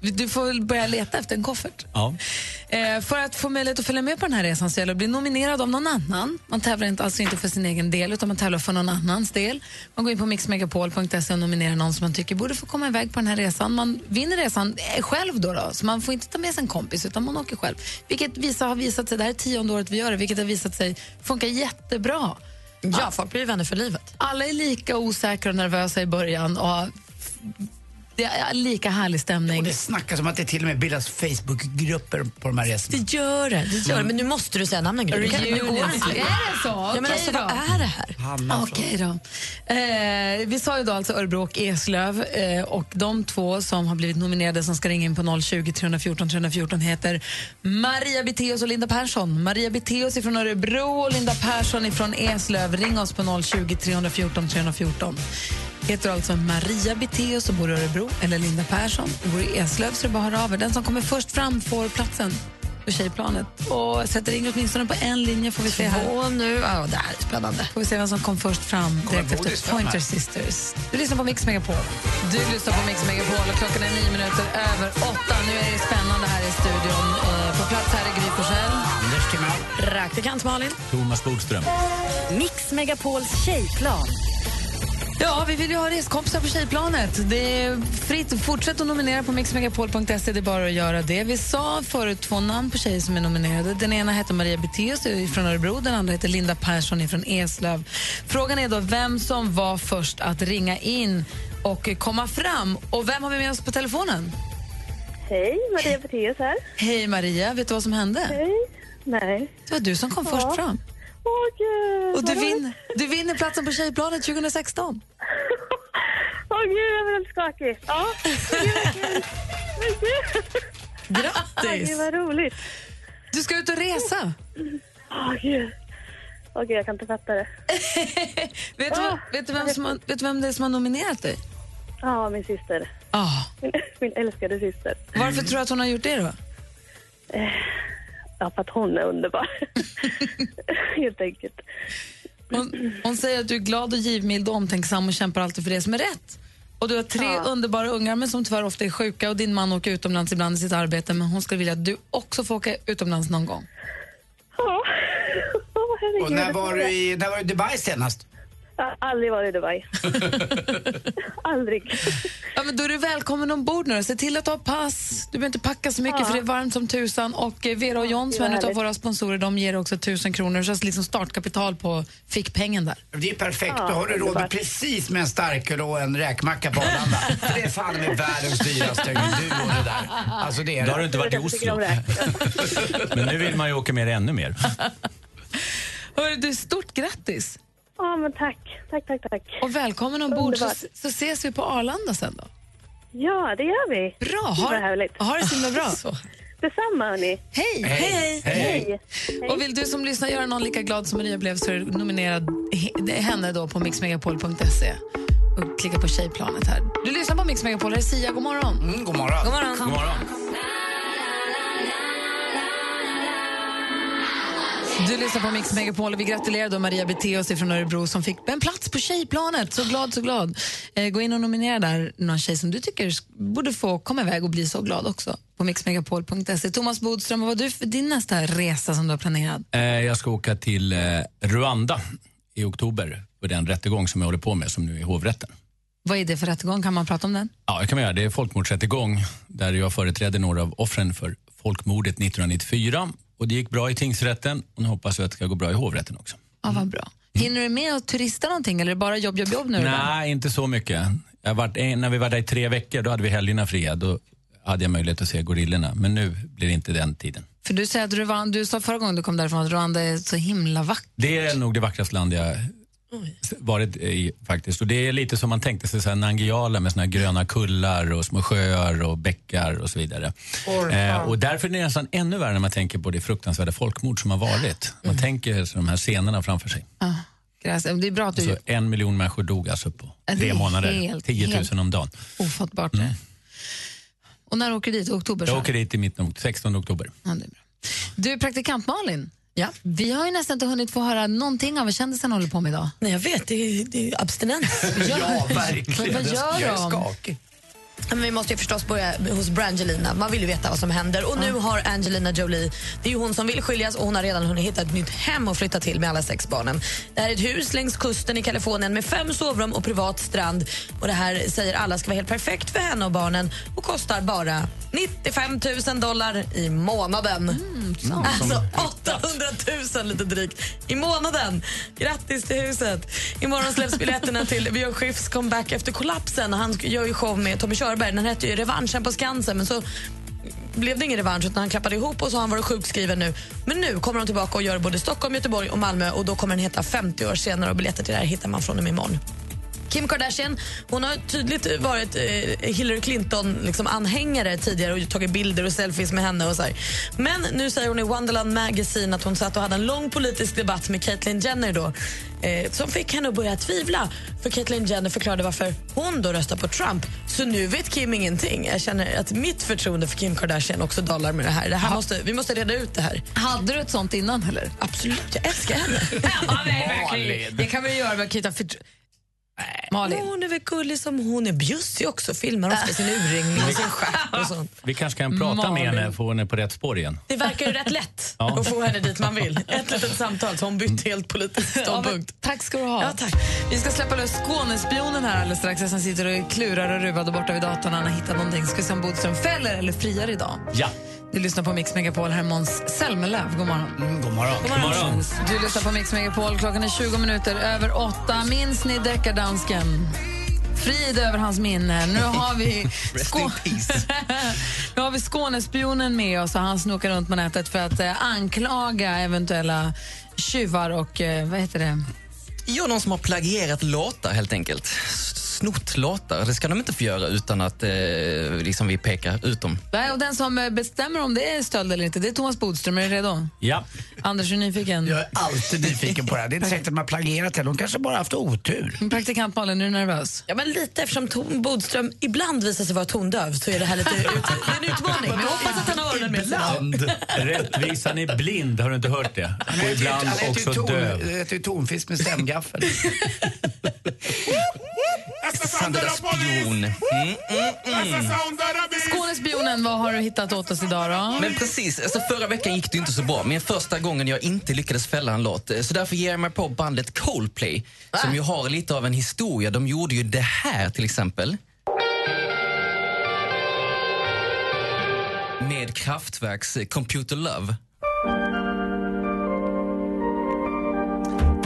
Du får väl börja leta efter en koffert.
Ja.
Eh, för att få möjlighet att följa med på den här resan så gäller det att bli nominerad av någon annan. Man tävlar inte, alltså inte för sin egen del, utan man tävlar för någon annans del. Man går in på mixmegapol.se och nominerar någon som man tycker borde få komma iväg på den här resan. Man vinner resan eh, själv då, då så man får inte ta med sig en kompis, utan man åker själv. Vilket visa, har visat sig, det här är tionde året vi gör det, vilket har visat sig funka jättebra. Ja, folk blir vänner för livet. Alla är lika osäkra och nervösa i början och det är lika härlig stämning.
Och det snackas om att det till och med bildas Facebookgrupper på de här resorna.
Det gör det, det
Mm.
gör det. Men nu måste du säga namnen. Gry.
Reunion.
Nu går det inte.
Är
det så?
Ja, men
Okej
alltså, vad
då.
är det här?
Hanna
Okej då. Eh, vi sa ju då alltså Örebro och Eslöv eh, och de två som har blivit nominerade som ska ringa in på 020 314 314 heter Maria Biteus och Linda Persson. Maria Biteus ifrån Örebro och Linda Persson ifrån Eslöv. Ring oss på 020 314 314. Heter alltså Maria Biteus och bor i Örebro eller Linda Persson och bor i Eslöv så det är bara att höra av er. Den som kommer först fram får platsen på tjejplanet. Och sätter in åtminstone på en linje får vi se här.
Två nu. Ja, det här är spännande.
Får vi se vem som kom först fram
Kommer
direkt
godis
efter
fram här?
Pointer Sisters. Du lyssnar på Mix Megapol. Du lyssnar på Mix Megapol och klockan är nio minuter över åtta. Nu är det spännande här i studion. Eh, På plats här är Gry Forssell.
Anders Timell.
Praktikant Malin.
Thomas Bodström.
Mix Megapols tjejplan.
Ja, vi vill ju ha reskompisar på tjejplanet. Det är fritt. Fortsätt att nominera på mixmegapol.se. Det är bara att göra det. Vi sa förut två namn på tjejer som är nominerade. Den ena heter Maria Biteus från Örebro. Den andra heter Linda Persson från Eslöv. Frågan är då vem som var först att ringa in och komma fram. Och vem har vi med oss på telefonen?
Hej, Maria Peteus här.
Hej Maria, vet du vad som hände?
Hej. Nej.
Det var du som kom
Ja.
först fram.
Åh, gud.
Och
vad
du,
roligt.
vin, du vinner platsen på Tjejplanet 2016.
Åh, gud, jag blir helt skakig. Ja, men gud, vad kul. Men gud. Åh, gud, vad roligt.
Du ska ut och resa.
Åh, gud. Åh, gud, jag kan inte fatta det.
Vet du, vet du, vem, som har, vet du vem det är som har nominerat dig?
Ja, min syster.
Ah.
Min, min älskade syster.
Varför tror du att hon har gjort det då?
Ja, för att hon är underbar. Helt enkelt.
Hon, hon säger att du är glad och givmild och omtänksam och kämpar alltid för det som är rätt. Och du har tre underbara ungar men som tyvärr ofta är sjuka och din man åker utomlands ibland i sitt arbete men hon skulle vilja att du också får åka utomlanans någon gång.
Ja. Åh, herregud,
Och när
jag
var,
får
du
se.
i, när var du i Dubai senast?
Jag har aldrig varit i Dubai. aldrig.
Ja, men då är du välkommen ombord nu. Se till att du har pass. Du behöver inte packa så mycket
Ja.
för det är varmt som tusan. Och eh, Vera och John,
det
som är
var
en av
härligt.
våra sponsorer, de ger också 1000 kronor. Så liksom startkapital på fickpengen där.
Det är perfekt,
Ja,
då har du råd med
underbart.
precis med en starköl och en räkmacka på Arlanda. För det är fan med världens dyraste duo det där. Alltså det är
Då har du inte varit i Oslo. Men nu vill man ju åka med dig ännu mer.
Hörru, du, stort grattis!
Ja, men tack. Tack, tack, tack.
Och välkommen ombord så,
Underbart.
så ses vi på Arlanda sen då.
Ja, det gör vi.
Bra!
Det var
Ha,
härligt.
ha det så himla bra.
Detsamma, hörni.
Hej!
Hej. Hej.
Och vill du som lyssnar göra någon lika glad som Maria blev så är du nominerad he- henne då på mixmegapol.se och klicka på tjejplanet här. Du lyssnar på Mix Megapol, här är Sia, god morgon.
Mm, god morgon.
God morgon.
God morgon.
Du lyssnar på Mix Megapol och vi gratulerar då Maria Beteus från Örebro som fick en plats på tjejplanet. Så glad, så glad. Eh, gå in och nominera där någon tjej som du tycker sk- borde få komma iväg och bli så glad också på mixmegapol.se. Thomas Bodström, vad var du för din nästa resa som du har planerat?
Eh, Jag ska åka till eh, Rwanda i oktober för den rättegång som jag håller på med som nu är i hovrätten.
Vad är det för rättegång? Kan man prata om den?
Ja, det kan man göra. Det är folkmordsrättegång där jag företräder några av offren för folkmordet 1994. Och det gick bra i tingsrätten och nu hoppas jag att det ska gå bra i hovrätten också.
Ja, vad bra. Hinner du med att turista någonting eller är det bara jobb, jobb, jobb nu? Robert?
Mm. Nej, inte så mycket. Jag varit, eh, när vi var där i tre veckor, då hade vi helgerna fria. Då hade jag möjlighet att se gorillorna. Men nu blir det inte den tiden.
För du säger att Rwanda, du sa förra gången du kom därifrån att Rwanda är så himla vackert.
Det är nog det vackraste land jag s- varit i faktiskt. Och det är lite som man tänkte sig, så här Nangijala med såna här gröna kullar och små sjöar och bäckar och så vidare.
Orfa.
Eh, och därför är det nästan ännu värre när man tänker på det fruktansvärda folkmord som har varit.
Mm.
Man tänker sig de här scenerna framför sig.
Ja, gräs. Det är bra att du
Alltså, en miljon människor dog alltså på
Ja, det
tre
är
månader.
helt-
10 000 om dagen. Mm.
ofattbart det. Och när åker du dit? I Oktober?
Jag
så?
åker dit i mitten av 16 oktober.
Ja, det är bra. Du, praktikant Malin. Ja. Vi har ju nästan inte hunnit få höra någonting av vad kändisarna håller på med idag.
Nej, jag vet. Det är, det är abstinens.
Ja, verkligen.
Vad gör
Jag är
de?
skakig.
Ja, Men vi måste ju förstås börja hos Brangelina. Man vill ju veta vad som händer. Och nu har Angelina Jolie, det är ju hon som vill skiljas och hon har redan hunnit hitta ett nytt hem att flytta till med alla sex barnen. Det här är ett hus längs kusten i Kalifornien med fem sovrum och privat strand. Och det här säger alla ska vara helt perfekt för henne och barnen och kostar bara 95 000 dollar i månaden.
Mm,
sant.
alltså 800 000 lite drygt i månaden. Grattis till huset! Imorgon släpps biljetterna till Björn Skifs comeback efter kollapsen. Han gör ju show med Tommy Körberg. Den hette ju Revanschen på Skansen, men så blev det ingen revansch utan han klappade ihop och så har han varit sjukskriven nu. Men nu kommer de tillbaka och gör både Stockholm, Göteborg och Malmö och då kommer den heta 50 år senare och biljetter till det här hittar man från och med imorgon. Kim Kardashian hon har tydligt varit eh, Hillary Clinton-anhängare liksom, anhängare tidigare och tagit bilder och selfies med henne. och så här. Men nu säger hon i Wonderland Magazine att hon satt och hade en lång politisk debatt med Caitlyn Jenner då, eh, som fick henne att börja tvivla. För Caitlyn Jenner förklarade varför hon då röstar på Trump. Så nu vet Kim ingenting. Jag känner att mitt förtroende för Kim Kardashian också dalar med det här. Det här måste, vi måste reda ut det här.
Hade du ett sånt innan eller?
Absolut, jag älskar henne.
Malin. Det kan vi göra med Kita Fitt... Malin.
Hon är väl gullig som hon är. Bjussig också. Filmar ofta sin urringning Alltså, och sin stjärt och sånt.
Vi kanske kan prata
Malin.
med henne och få henne på rätt spår igen.
Det verkar ju rätt lätt
Ja.
att få henne dit man vill. Ett litet samtal så hon bytt helt politisk ståndpunkt.
Tack ska du ha.
Ja, tack.
Vi ska släppa lös Skånespionen här alldeles strax. Han sitter och klurar och ruvar där borta vid datorn. Han har hittat någonting. Ska vi se om Bodström fäller eller friar idag.
Ja.
Du lyssnar på Mix Megapol. Här är Måns Zelmerlöw. God morgon.
Mm, god morgon.
God morgon. Du lyssnar på Mix Megapol. Klockan är 20 minuter över åtta. Minns ni deckardansken? Frid över hans minne. Nu har vi, Skå... nu har vi Skånespionen med oss och han snokar runt på nätet för att eh, anklaga eventuella tjuvar och eh, vad heter det?
Ja, någon som har plagierat låtar helt enkelt. S- Snott låtar. Det ska de inte få göra utan att eh, liksom vi pekar ut dem.
Nej, Och den som eh, bestämmer om det är stöld eller inte, det är Thomas Bodström. Är du redo?
Ja.
Anders, är du nyfiken? Jag
är alltid nyfiken på det här. Det är inte säkert att man har plagierat det. De kanske bara haft otur.
Min Mm, praktikant Malin, är du nervös?
Ja, men lite eftersom Tom Bodström ibland visar sig vara tondöv så är det här lite ut, det är en utmaning. Men jag hoppas att han har öronen med sig.
Ibland. Rättvisan är blind, har du inte hört det? Och ibland
Han äter ju
också
ton-
döv.
Han äter ju tonfisk med stämgaffel.
Sandra Spion. Mm, mm, mm.
Skåne
morgonspionen, vad har du hittat åt oss idag då?
Men precis, alltså förra veckan gick det inte så bra. Men första gången jag inte lyckades fälla en låt. eh, Så därför ger jag mig på bandet Coldplay. Som ju har lite av en historia. De gjorde ju det här till exempel. Med Kraftwerks eh, Computer Love.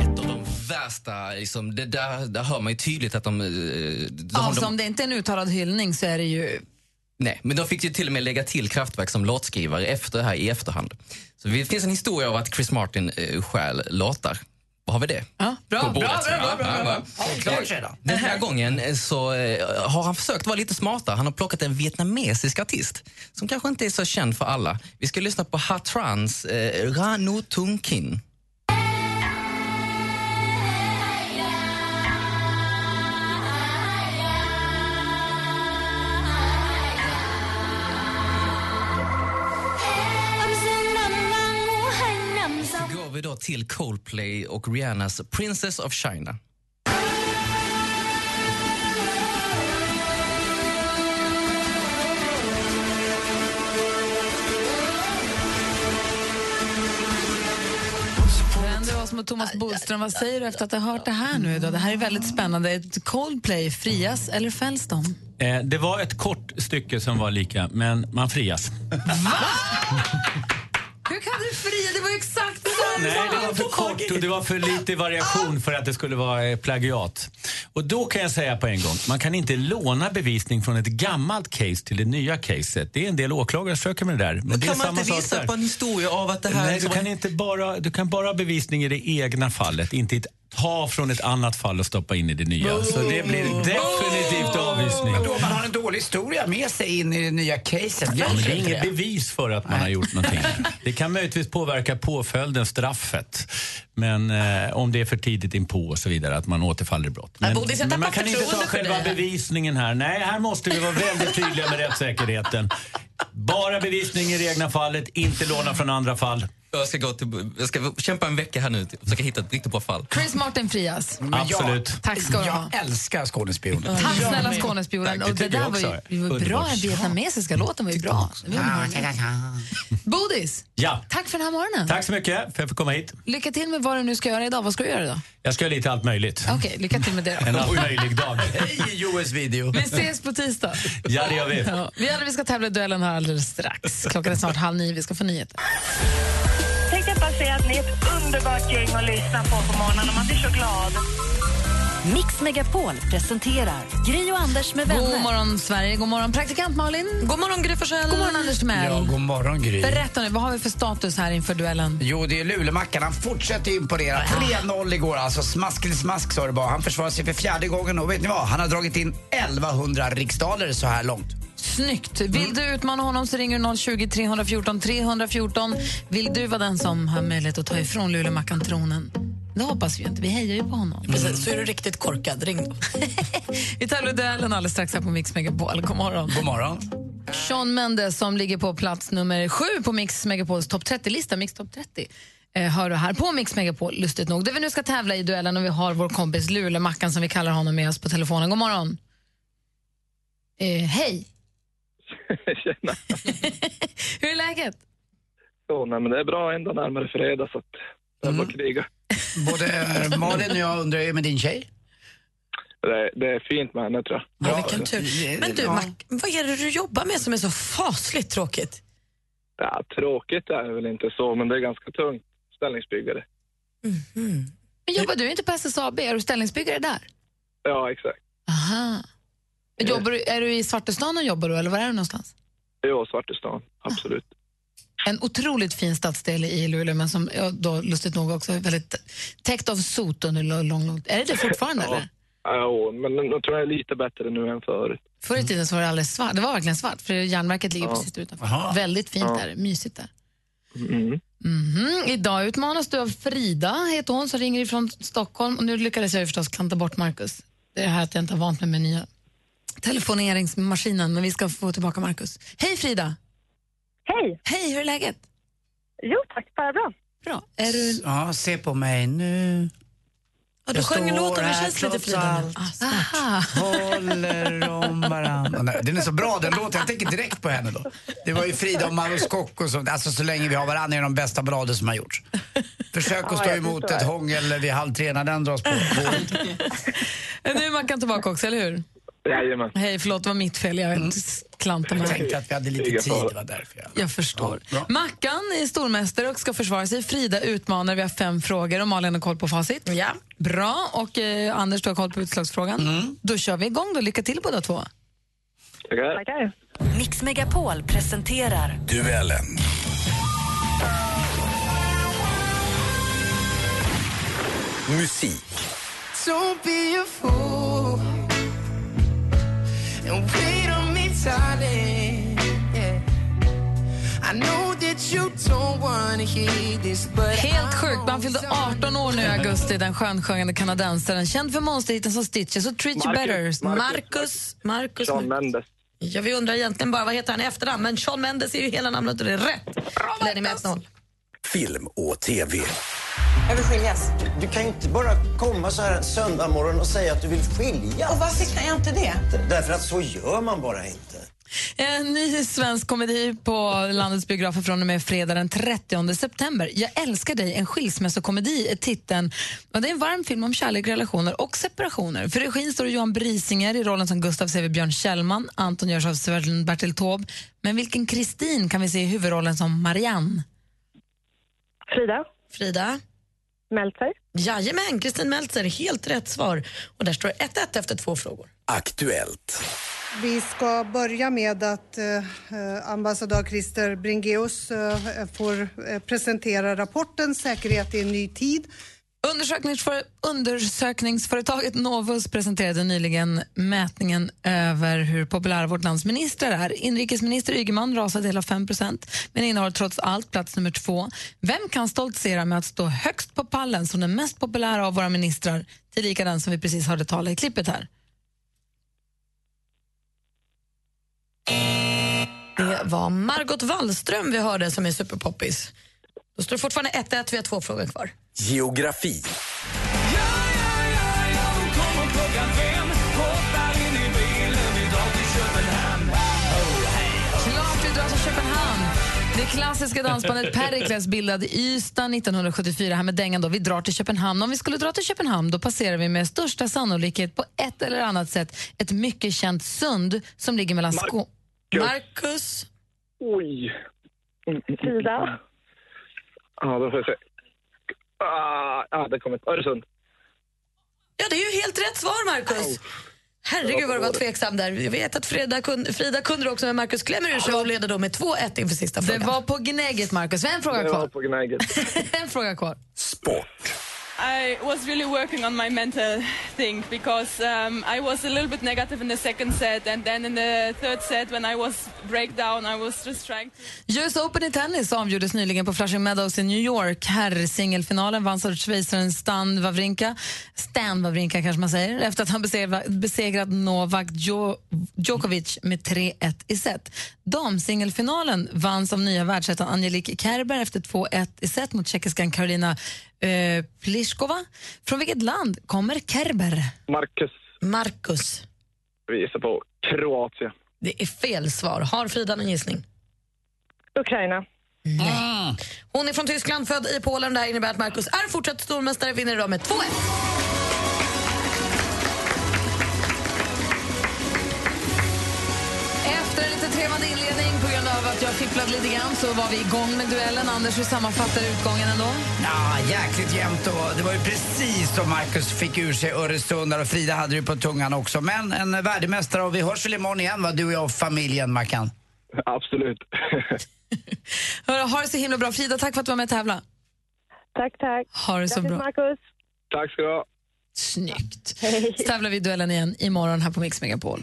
Ett av de värsta, liksom, det där, där hör man ju tydligt att de... eh, de-
Ja,
de
alltså, om det inte är en uttalad hyllning så är det ju...
Nej, men de fick ju till och med lägga till Kraftwerk som låtskrivare efter här i efterhand. Så det finns en historia av att Chris Martin eh, stjäl låtar. Vad har vi det?
Ja, bra,
På
bra,
bordet.
bra, bra, bra,
Ja,
bra.
ja. Eh, Den här gången eh, så eh, har han försökt vara lite smartare. Han har plockat en vietnamesisk artist som kanske inte är så känd för alla. Vi ska lyssna på Ha Trans eh, Ranu Tung Kin. Så går vi då till Coldplay och Rihannas Princess of China.
Vänder oss mot Thomas Bodström. Vad säger du efter att ha hört det här nu? Då? Det här är väldigt spännande. Ett Coldplay, frias eller fälls de?
Eh, det var ett kort stycke som var lika, men man frias.
Hur kan du fria? Det var ju exakt det där
Nej, det var för kort och det var för lite variation för att det skulle vara eh, plagiat. Och då kan jag säga på en gång, man kan inte låna bevisning från ett gammalt case till det nya caset. Det är en del åklagare som söker med det där. Men, det är
kan man
samma
inte
sak
visa
där.
på en historia av att det här... typ liksom-
Nej, du kan, inte bara, du kan bara ha bevisning i det egna fallet, inte ett, ta från ett annat fall och stoppa in i det nya. Så det blir definitivt avvisning.
Men då man har en dålig historia med sig in i det nya caset.
Ja, men det är
Hjälper
inget
inte
bevis för att man har gjort någonting. Det kan möjligtvis påverka påföljden, straffet. Men eh, om det är för tidigt inpå och så vidare, att man återfaller i brott.
Jag
Men,
borde sätta
men man
på
kan inte ta
förtroende för
själva
dig här.
bevisningen här. Nej, här måste vi vara väldigt tydliga med rättssäkerheten. Bara bevisning i det egna fallet, inte låna från andra fall.
Jag ska, gå till, jag ska kämpa en vecka här nu och försöka hitta ett riktigt bra fall.
Chris Martin frias.
Men jag- Absolut.
Tack ska du
jag
ha.
Älskar skådespelare.
Tack
Ja,
snälla
men-
Skånespionen.
Tack,
Och det
tycker
där
jag
var
också
ju
är
vi var bra.
underbart.
Den vietnamesiska låten var ju bra. Den var underbar. Bodis,
Ja,
tack för den här morgonen.
tack så mycket för att jag fick komma hit.
Lycka till med vad du nu ska göra idag. Vad ska du göra idag?
Jag ska göra lite allt möjligt.
Okej, lycka till med det.
En allt möjlig dag. Hej US-video.
Vi ses på tisdag.
Ja, det gör vi.
Ja, vi, alla, vi ska tävla i duellen här alldeles strax. Klockan är snart halv nio. Vi ska få nyheter.
Tänkte jag bara säga att ni är ett underbart gäng att lyssna på på morgonen. Man blir så glad.
Mix Megapol presenterar Gri och Anders med vänner.
God morgon, Sverige. God morgon, praktikant Malin. God morgon, Gry Forssell. God morgon, Anders Timell.
Ja, god morgon Gry.
Berätta nu, vad har vi för status här inför duellen?
Jo, det är Lulemackan. Han fortsätter imponera. 3-0 igår alltså. Smask till smask sa det bara. Han försvarar sig för fjärde gången och vet ni vad? Han har dragit in 1100 riksdaler så här långt.
Snyggt.
Mm.
Vill du utmana honom så ringer du 020 314 314. Vill du vara den som har möjlighet att ta ifrån lulemackan tronen? Det hoppas vi ju inte. Vi hejar ju på honom.
Precis, så är du riktigt korkad, ring
Vi tävlar i duellen alldeles strax här på Mix Megapol. God morgon.
God morgon.
Sean Mendes som ligger på plats nummer sju på Mix Megapols topp 30-lista, Mix topp 30. Eh, hör du här på Mix Megapol, lustigt nog. Där vi nu ska tävla i duellen och vi har vår kompis Lulemackan som vi kallar honom med oss på telefonen. God morgon. Eh, hej,
Tjena.
hur är läget?
Jo, nej, men det är bra, ändå närmare fredag så att det är bara att
Mm.
kriga.
Både Malin och jag undrar ju med din tjej.
Det, det är fint med henne tror jag.
Ja,
Vilken tur. Men du, Mac, vad är det du jobbar med som är så fasligt tråkigt?
Ja, tråkigt är det väl inte så, men det är ganska tungt. Ställningsbyggare.
Men jobbar du inte på SSAB? Är du ställningsbyggare där?
Ja, exakt.
Aha. Jobbar du, är du i Svartestan och jobbar du, eller var är du någonstans?
Jo, Svartestan. Absolut.
En otroligt fin stadsdel i Luleå, men som ja, då lustigt nog också är väldigt täckt av sot under lång, lång, lång Är det det fortfarande?
Ja.
eller?
Jo, men jag tror jag är lite bättre nu än förut.
Förr i tiden så var det alldeles svart. Det var verkligen svart, för järnverket ligger precis där utanför.
Aha.
Väldigt fint
Ja.
där, mysigt där.
Mm.
Mhm. Idag utmanas du av Frida, heter hon, som ringer ifrån Stockholm. Och nu lyckades jag ju förstås klanta bort Markus. Det är det här att jag inte har vant mig med nya telefoneringsmaskinen, men vi ska få tillbaka Markus. Hej Frida!
Hej!
Hej, hur är läget?
Jo tack, bara bra.
Bra. Är du...
Ja, se på mig nu.
Ja, du sjöng en låt om det känns lite Ah, flytande.
Aha.
Håller om varandra. Nej, Den är så bra den låten, jag tänker direkt på henne då. Det var ju Frida och Maros Kock och sånt. Alltså så länge vi har varandra är de bästa ballader som har gjorts. Försök
Ja,
att stå
jag
emot
förstår.
ett hångel vid halv tre när den dras på.
Nu är Mackan tillbaka också, eller hur?
Jajamän.
Hej, förlåt, det var mitt fel. Jag s- klantade
Mm. Jag
mig.
tänkte att vi hade lite tid, det var därför jag...
Jag förstår. Mackan är stormästare och ska försvara sig. Frida utmanar. Vi har fem frågor och Malin har koll på facit. Ja. Bra. Och eh, Anders, du har koll på utslagsfrågan.
Mm.
Då kör vi igång. Då. Lycka till båda två.
Tackar. Mix Megapol presenterar
Duellen. Musik.
Don't be a fool and wait on me, darling. Yeah. I know that you don't wanna hear this, but
Helt sjukt. Man fyllde 18 år nu i augusti, den skönsjungande kanadensaren. Känd för monsterhiten som Stitches och Treat You
Marcus,
Better.
Marcus, Marcus.
Sean Mendes.
Ja, vi undrar egentligen bara vad heter han i efternamn, men Sean Mendes är ju hela namnet och det är rätt. Eller är ni med 1-0?
Film och TV.
Jag vill skiljas. Du kan ju inte bara komma så här en söndag morgon och säga att du vill skiljas.
Och varför kan jag inte det?
Därför att så gör man bara inte.
En ny svensk komedi på landets biografer från och med fredag den 30 september. Jag älskar dig, en skilsmässokomedi är titeln. Och det är en varm film om kärlek, relationer och separationer. För regin står Johan Brisinger i rollen som Gustav C.V. Björn Kjellman. Anton görs av Sven Bertil Taube. Men vilken Kristin kan vi se i huvudrollen som Marianne?
Frida. Frida. Meltzer. Jajamän, Kristin Meltzer. Helt rätt svar. Och där står det 1-1 efter två frågor.
Aktuellt.
Vi ska börja med att eh, eh, ambassadör Christer Bringeus eh, får eh, presentera rapporten Säkerhet i en ny tid.
Undersökningsför- undersökningsföretaget Novus presenterade nyligen mätningen över hur populära vårt lands ministrar är. Inrikesminister Ygeman rasade hela 5 men innehar trots allt plats nummer två. Vem kan stoltsera med att stå högst på pallen som den mest populära av våra ministrar, tillika den som vi precis hörde tala i klippet här?
Det var Margot Wallström vi hörde som är superpoppis. Då står det fortfarande 1-1, vi har två frågor kvar.
Geografi.
Klart vi drar till alltså Köpenhamn. Det klassiska dansbandet Pericles bildade i Ystad 1974 här med dängan då. Vi drar till Köpenhamn. Om vi skulle dra till Köpenhamn då passerar vi med största sannolikhet på ett eller annat sätt ett mycket känt sund som ligger mellan Skå... Marcus.
Oj.
Frida.
Ja, då får vi se. Ah, ah, det kommer Öresund.
Ja, det är ju helt rätt svar, Marcus. Herregud vad du var tveksam där. Jag vet att Frida, kun, Frida kunde det också, men Marcus klämmer ur sig och leder då med 2-1 inför sista
Det
frågan.
var på gnägget, Marcus. Vi har en fråga
Det var
kvar.
på
gnägget.
en fråga kvar.
I was really working on my mental thing because um, I was a little bit negative in the second set, and then in the third set, when I was breakdown, I was just trying to.
US Open i tennis avgjordes nyligen på Flushing Meadows i New York. Herrsingelfinalen vanns av schweizaren Stan Wawrinka. Stan Wawrinka kanske man säger, efter att han besegra- besegrat Novak Djo- Djokovic med 3-1 i set. Damsingelfinalen vanns av nya världsettan Angelique Kerber efter 2-1 i set mot tjeckiskan Karolina eh, Pliskova. Från vilket land kommer Kerber?
Marcus.
Marcus.
Vi gissar på Kroatien.
Det är fel svar. Har Frida någon gissning?
Ukraina.
Nej.
Ah.
Hon är från Tyskland, född i Polen. Det här innebär att Marcus är fortsatt stormästare, vinner idag med 2-1.
Efter en lite trevande inledning på grund av att jag fipplade lite grann så var vi igång med duellen. Anders, hur sammanfattar du utgången ändå?
Ja, jäkligt jämnt och det var ju precis som Marcus fick ur sig Öresund där och Frida hade det ju på tungan också. Men en värdemästare och vi hörs väl imorgon igen va, du och jag och familjen Mackan?
Absolut.
Hörru, ha det så himla bra. Frida, tack för att du var med och tävla.
Tack, tack.
Ha det så
Grattis,
bra.
Marcus.
Tack ska du ha.
Snyggt. Så tävlar vi i duellen igen imorgon här på Mix Megapol.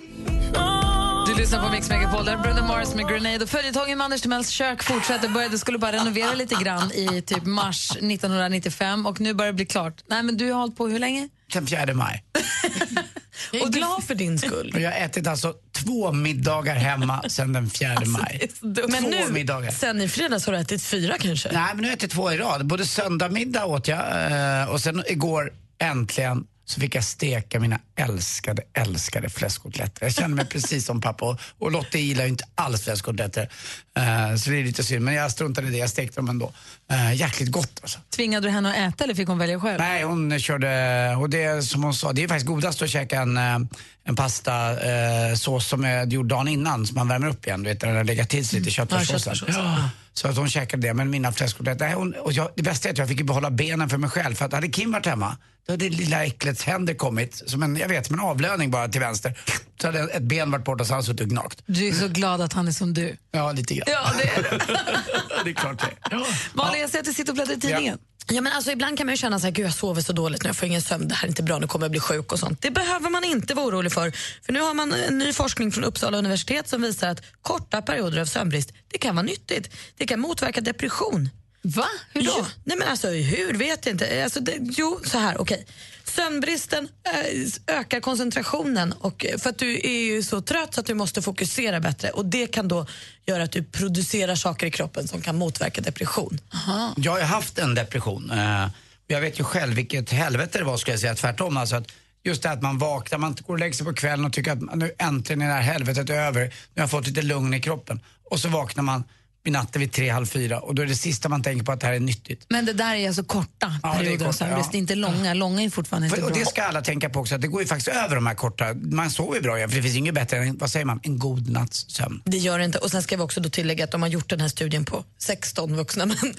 Du lyssnar på Mix Megapol, där är Brenda Mars med Grenade. Och Följetongen med Anders Timells kök fortsätter. Började skulle bara renovera lite grann i typ mars 1995 och nu börjar det bli klart. Nej, men du har hållit på hur länge?
Sen 4 maj.
Jag är glad för din skull.
Och jag har ätit alltså två middagar hemma sen den 4
Alltså,
maj.
Men
två
nu,
middagar.
sen i fredags har du ätit fyra kanske?
Nej, men nu har jag ätit två i rad. Både söndag middag åt jag eh, och Eh, sen igår Äntligen så fick jag steka mina älskade, älskade fläskkotletter. Jag kände mig precis som pappa och, och Lotte gillar ju inte alls fläskkotletter. Eh, så det är lite synd, men jag struntade i det. Jag stekte dem ändå. Uh, jäkligt gott alltså.
Tvingade du henne att äta eller fick hon välja själv?
Nej, hon körde, och det är som hon sa, det är faktiskt godast att käka en, eh, en pasta eh, sås som är gjord dagen innan, som man värmer upp igen, du vet, när den har legat till sig lite, köttfärssåsen.
köttfärssås.
Ja. Så att hon käkade det, men mina fläskkotletter, nej, hon, och jag, det bästa är att jag fick ju behålla benen för mig själv, för att hade Kim varit hemma, då hade det lilla äcklets händer kommit, som en, jag vet, som en avlöning bara till vänster. Så hade ett ben varit borta så hade han suttit och gnagt.
Du är så glad att han är som du.
Ja, lite grann.
Ja, det
är det. är klart det.
Malin, jag ser att du sitter och bläddrar i tidningen.
Ja, men alltså, ibland kan man ju känna så här, Gud, jag sover så dåligt nu, jag får ingen sömn, det här är inte bra, nu kommer jag bli sjuk och sånt. Det behöver man inte vara orolig för. För nu har man en ny forskning från Uppsala universitet som visar att korta perioder av sömnbrist, det kan vara nyttigt. Det kan motverka depression.
Va? Hur då?
Ja, nej men alltså, hur vet jag inte. Alltså, det, jo, så här, okej. Sömnbristen eh, ökar koncentrationen och, för att du är ju så trött så att du måste fokusera bättre och det kan då göra att du producerar saker i kroppen som kan motverka depression.
Jag har ju haft en depression. eh, och Jag vet ju själv vilket helvete det var skulle jag säga, tvärtom. Alltså att just det här att man vaknar, man går och lägger sig på kvällen och tycker att nu äntligen är det här helvetet över. Nu har jag fått lite lugn i kroppen. Och så vaknar man i natten vid tre, halv fyra och då är det sista man tänker på att det här är nyttigt.
Men det där är alltså korta
Ja, det är
perioder av
korta,
sömnbrist,
ja.
det är inte långa. Långa är fortfarande inte
För, och
bra.
det ska alla tänka på också, att det går ju faktiskt över de här korta. Man sover ju bra igen, för det finns ju inget bättre än, vad säger man, en god natts sömn.
Det gör det inte. Och sen ska vi också då tillägga att de har gjort den här studien på 16 vuxna män.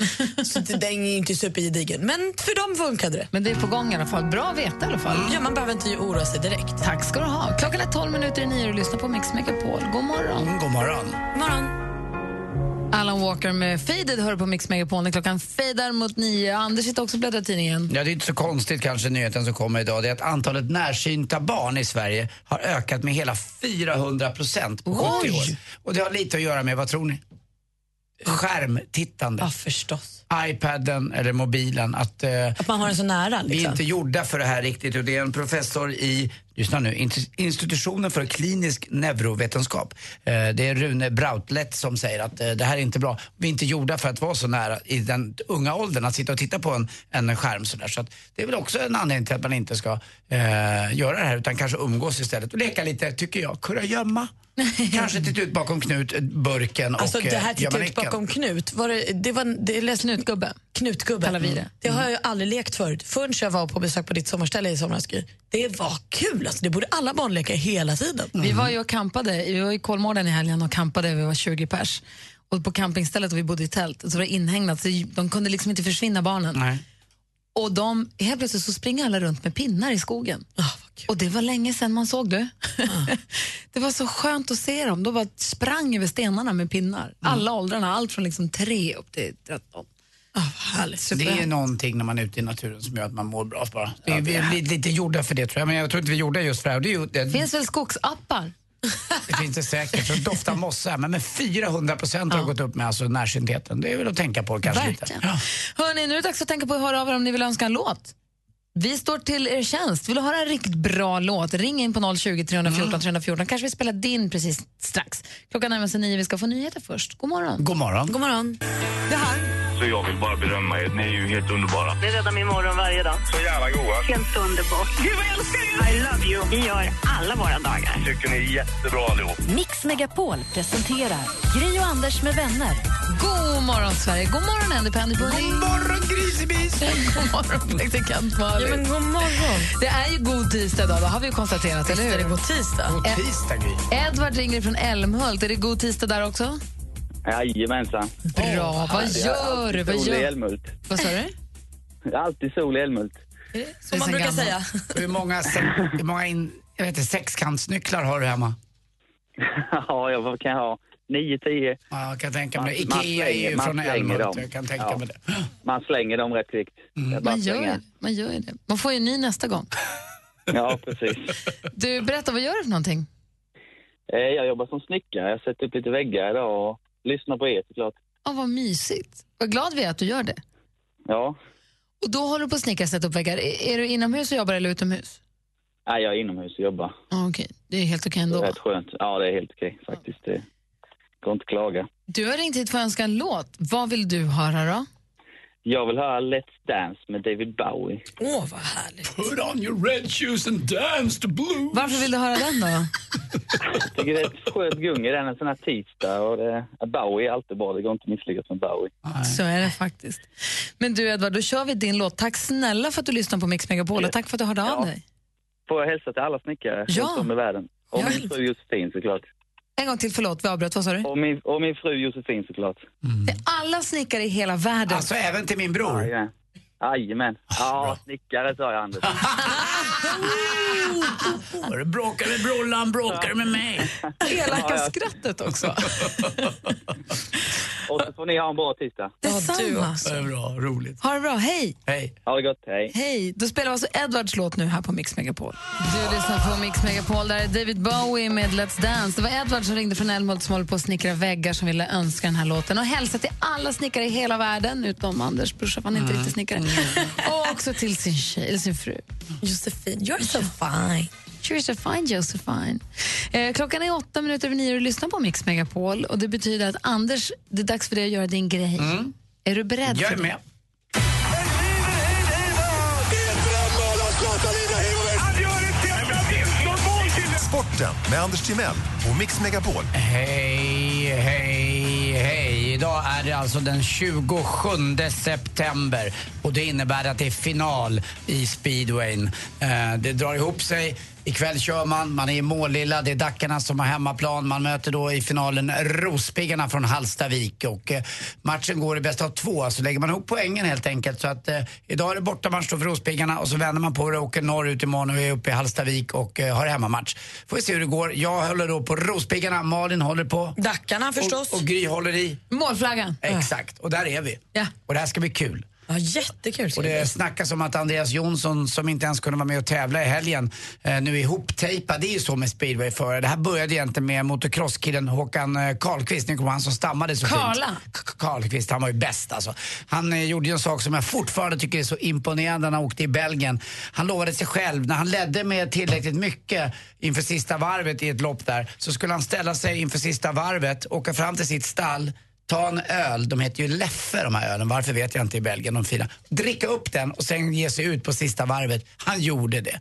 Så det- den är inte supergedigen. Men för dem funkade det.
Men det är på gång i alla fall. Bra att veta i alla fall.
Ja, man behöver inte oroa sig direkt.
Tack ska du ha. Klockan är 12 minuter i nio och lyssnar på Mix Megapol. God morgon.
Mm, God morgon.
morgon.
Alan Walker med Faded hör på Mix Megapol när klockan fejdar mot nio. Anders sitter också och bläddrar i tidningen.
Ja, det är inte så konstigt kanske nyheten som kommer idag. Det är att antalet närsynta barn i Sverige har ökat med hela 400 procent på 70 år. Och det har lite att göra med, vad tror ni? Skärmtittande. Ja,
förstås.
Ipaden eller mobilen. Att, eh,
Att man har den så nära.
vi är
Liksom.
inte gjorda för det här riktigt och det är en professor i, lyssna nu, Int- institutionen för klinisk neurovetenskap. Eh, Det är Rune Brautlett som säger att eh, det här är inte bra. Vi är inte gjorda för att vara så nära i den unga åldern, att sitta och titta på en, en skärm sådär. Så att det är väl också en anledning till att man inte ska eh, göra det här utan kanske umgås istället och leka lite, tycker jag, kurragömma. Kanske titta ut bakom Knut, eh, burken
Alltså
och
det här
eh,
tittar ut
gömmanäcken.
bakom Knut. Var det, det var, det läs
Knutgubbe. Mm.
Knutgubbe.
Kallar vi det.
Det har jag ju aldrig lekt förut. Förrän jag var på besök på ditt sommarställe i somras. Gry. Det var kul. Alltså, det borde alla barn leka hela tiden.
Vi
Mm.
var ju och campade, vi var i Kolmården i helgen och campade, vi var 20 pers. Och på campingstället och vi bodde i tält, så var det inhägnat så de kunde liksom inte försvinna barnen. Och de, helt plötsligt så springer alla runt med pinnar i skogen.
Ah,
och det var länge sedan man såg det. det var så skönt att se dem. De bara sprang över stenarna med pinnar.
Ah.
Alla åldrarna, allt från liksom tre upp till 13.
Ah, Det är ju
Superhärligt.
någonting när man är ute i naturen som gör att man mår bra. Bara. Vi, vi är lite- lite gjorda för det tror jag, men jag tror inte vi är gjorda just för det här. Det, är ju, det,
Det finns väl skogsappar?
det finns det säkert. Så doftar mossa, men med 400 procent har gått upp med alltså närsyntheten. Det är väl att tänka på kanske lite. Ja.
Hörni, nu är det dags att tänka på att höra av er om ni vill önska en låt. Vi står till er tjänst. Vill du höra en riktigt bra låt? Ring in på 020 314 314. Kanske vi spelar din precis strax. Klockan närmar sig nio. Vi ska få nyheter först. God morgon.
God morgon.
God morgon.
Det här.
Så jag vill bara berömma er. Ni är ju helt underbara.
Det räddar min morgon varje dag.
Så jävla goa.
Helt underbart. Gud, vad jag älskar er! I love you. Vi gör alla våra dagar.
Tycker ni är jättebra allihop.
Mix Megapol presenterar Gri och Anders med vänner.
God morgon, Sverige. God morgon, Andy Pandy Pudding. God
morgon, grisebis.
God morgon, praktikant Malin.
Ja, men god morgon.
Det är ju god tisdag idag, det har vi ju konstaterat, eller hur?
är det god tisdag.
God
tisdag, Gry.
Edvard ringer från Älmhult. Är det god tisdag där också?
Jajamensan.
Bra. Vad gör du? Vad
Sol i
gör-
Älmhult.
Vad sa du?
Det är Alltid sol i Älmhult.
Som man brukar säga.
Hur många, se- hur många in, jag vet inte, sexkantsnycklar har du hemma?
ja, jag- vad kan jag ha? 9, 10.
Ja, jag kan tänka mig det.
Man- man
Ikea är ju
slänger- man
från
slänger
Älmhult.
dem.
Jag kan tänka
Ja.
mig det. Mm.
Man slänger dem rätt kvickt. Det är bara
Man
att
gör,
slänga.
ju- man gör ju det. Man får ju en ny nästa gång.
Ja, precis.
Du, berätta, vad gör du för någonting?
Eh, Jag jobbar som snickare. Jag sätter upp lite väggar idag och lyssnar på er såklart.
Oh, vad mysigt. Vad glad vi är att du gör det.
Ja,
Och då håller du på att snickra sätta upp väggar. Är, är du inomhus och jobbar eller utomhus?
Nej, jag är inomhus och jobbar.
Ah, Okej, det är helt okej
Det
ändå.
är
va?
rätt skönt. Ja, det är helt okej faktiskt. Det går inte att klaga.
Du har ringt hit för att önska en låt. Vad vill du höra då?
Jag vill höra Let's Dance med David Bowie.
Åh, vad härligt.
Put on your red shoes and dance the blues.
Varför vill du höra den då?
Jag tycker det är ett skönt gung i den en sån här tisdag. Och det, Bowie är alltid bra, det går inte att misslyckas med Bowie.
Så är det faktiskt. Men du Edvard, då kör vi din låt. Tack snälla för att du lyssnade på Mix Megapol och tack för att du hörde av dig.
Får jag hälsa till alla snickare
Ja.
runt om i världen? Och min fru Josefin såklart.
En gång till, förlåt, vi avbröt. Vad sa du?
Och min, och min fru Josefin såklart.
Till alla snickare i hela världen.
Alltså, även till min bror? Jajamän. Jajamän. Ja, snickare sa jag Anders.
Bror, Bråkar med brollan, bråkar med mig.
Ja,
Elaka
ja.
skrattet också.
Och så får ni ha en bra tisdag.
Detsamma.
Det är bra, roligt.
Ha det bra, hej!
Hej.
Ha det gott, hej.
Hej! Då spelar vi alltså Edwards låt nu här på Mix Megapol. Du lyssnar på Mix Megapol, där är David Bowie med Let's Dance. Det var Edward som ringde från Älmhult som håller på att snickra väggar som ville önska den här låten och hälsa till alla snickare i hela världen, utom Anders brorsa, för han är inte
Mm.
riktigt snickare. Och också till sin, tjej, eller sin fru. Josefin, you're so fine. You're so fine, Josephine. Eh, klockan är åtta minuter över nio och du lyssnar på Mix Megapol. Och det betyder att Anders, det är dags för dig att göra din grej. Är du beredd?
Jag är
för det?
med.
Sporten med Anders Timell och Mix Megapol.
Hej, hej, hej. Idag är det alltså den 27 september och det innebär att det är final i speedwayn. Eh, det drar ihop sig. Ikväll kör man, man är i Målilla, det är Dackarna som har hemmaplan. Man möter då i finalen Rospiggarna från Hallstavik och eh, matchen går i bästa av två. Så lägger man ihop poängen helt enkelt. Så att eh, idag är det bortamatch då för Rospiggarna och så vänder man på det och åker norrut imorgon och är uppe i Hallstavik och eh, har hemmamatch. Får vi se hur det går. Jag håller då på Rospiggarna, Malin håller på
Dackarna förstås.
Och, och Gry håller i.
Målflaggan.
Exakt, och där är vi.
Ja.
Och det här ska bli kul.
Ja, jättekul
Och det snackas om att Andreas Jonsson, som inte ens kunde vara med och tävla i helgen, eh, nu är ihoptejpad. Det är ju så med speedway förr. Det här började egentligen med motocrosskillen Håkan eh, Karlqvist, ni kommer ihåg han som stammade så
Karla.
fint. K- Karlqvist, han var ju bäst alltså. Han eh, gjorde ju en sak som jag fortfarande tycker är så imponerande när han åkte i Belgien. Han lovade sig själv, när han ledde med tillräckligt mycket inför sista varvet i ett lopp där, så skulle han ställa sig inför sista varvet, åka fram till sitt stall, ta en öl, de heter ju Leffe de här ölen, varför vet jag inte i Belgien, de fina. Dricka upp den och sen ge sig ut på sista varvet. Han gjorde det.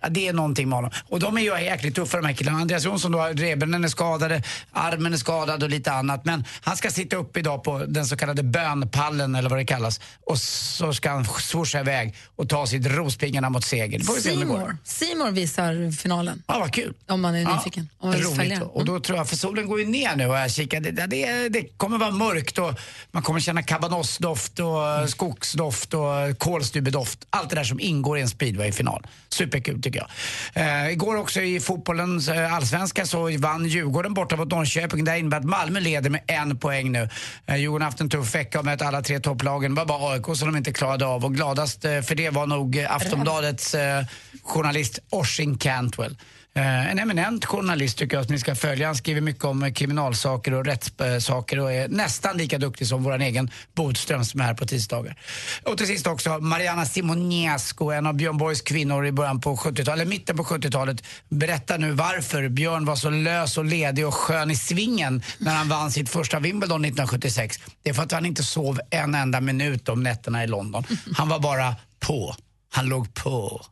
Ja, det är någonting med honom. Och de är ju jäkligt tuffa de här killarna. Andreas Jonsson då, revbenen är skadade, armen är skadad och lite annat. Men han ska sitta upp idag på den så kallade bönpallen eller vad det kallas. Och så ska han swisha iväg och ta sitt Rospiggarna mot seger. Det får vi se om det går.
Seymour. Seymour visar finalen.
Ja, vad kul.
Om man är
Ja,
nyfiken. Om man vill
roligt.
följa den.
Och då tror jag, för solen går ju ner nu och jag kikar, det, det, det kommer vara mörkt och man kommer känna kabanossdoft och eh, skogsdoft och kolstubbedoft. Allt det där som ingår i en speedwayfinal. Superkul tycker jag. Eh, igår också i fotbollens eh, allsvenska så vann Djurgården borta mot Norrköping. Det här innebär att Malmö leder med en poäng nu. Eh, Djurgården har haft en tuff vecka och mött alla tre topplagen. Det var bara AIK som de inte klarade av och gladast eh, för det var nog eh, Aftonbladets eh, journalist Oisin Cantwell. Eh, En eminent journalist tycker jag att ni ska följa. Han skriver mycket om eh, kriminalsaker och rättssaker och är nästan lika duktig som vår egen Bodström som är här på tisdagar. Och till sist också Mariana Simonescu, en av Björn Borgs kvinnor i början på 70-talet, eller mitten på 70-talet, berättar nu varför Björn var så lös och ledig och skön i svingen när han vann sitt första Wimbledon 1976. Det är för att han inte sov en enda minut om nätterna i London. Han var bara på. Han låg på.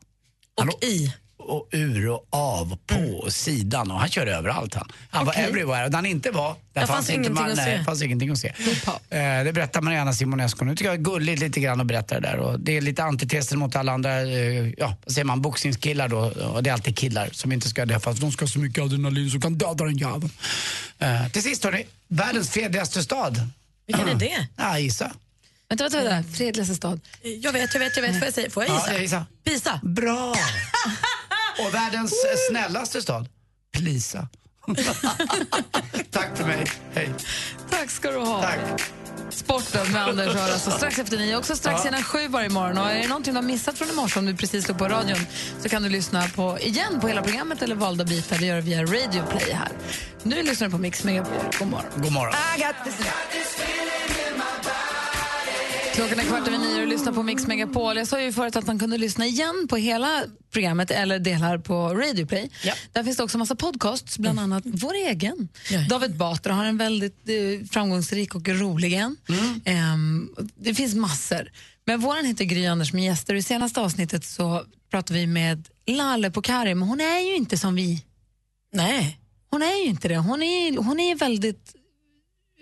Han och
i. Mm.
Och ur och av, på och sidan. Och han körde överallt. Han, han
Okej.
var everywhere. Och där han inte var, där
Där
fanns,
fanns
inte
ingenting
man,
att
nej,
se.
fanns ingenting att se. Eh, det berättar Mariana Simonescu. Nu tycker jag det är gulligt lite grann att berätta det där. Och det är lite antitesen mot alla andra, eh, ja, vad säger man, boxningskillar då. Och det är alltid killar som inte ska det, fast de ska ha så mycket adrenalin som kan döda den jäveln. Eh, till sist hörni, världens fredligaste stad. Mm.
Vilken är det?
Ja, gissa.
Vänta, vänta, vänta. Fredligaste stad.
Jag vet, jag vet, jag vet. Får jag, säga? Får jag
Ja,
gissa?
jag gissar.
Pisa.
Bra! Och världens eh, snällaste stad, Plisa. Tack för mig, hej.
Tack ska du ha. Sporten med Anders Öhrn, alltså strax efter nio, också strax
Ja.
innan sju varje morgon. Och är det någonting du har missat från i morse, om du precis slog på radion, så kan du lyssna på igen på hela programmet eller valda bitar. Det gör du via Radio Play här. Nu lyssnar du på Mix Megapol. God morgon.
God morgon.
I got this- Klockan är kvart över nio och lyssnar på Mix Megapol. Jag sa ju förut att man kunde lyssna igen på hela programmet eller delar på Radio Play. Där finns det också massa podcasts, bland annat vår egen. David Batra har en väldigt eh, framgångsrik och rolig en. Ehm, det finns massor. Men våran heter Gry Anders med gäster och i senaste avsnittet så pratade vi med Lalle på Karim och hon är ju inte som vi. Nej. Hon är ju inte det. Hon är, hon är väldigt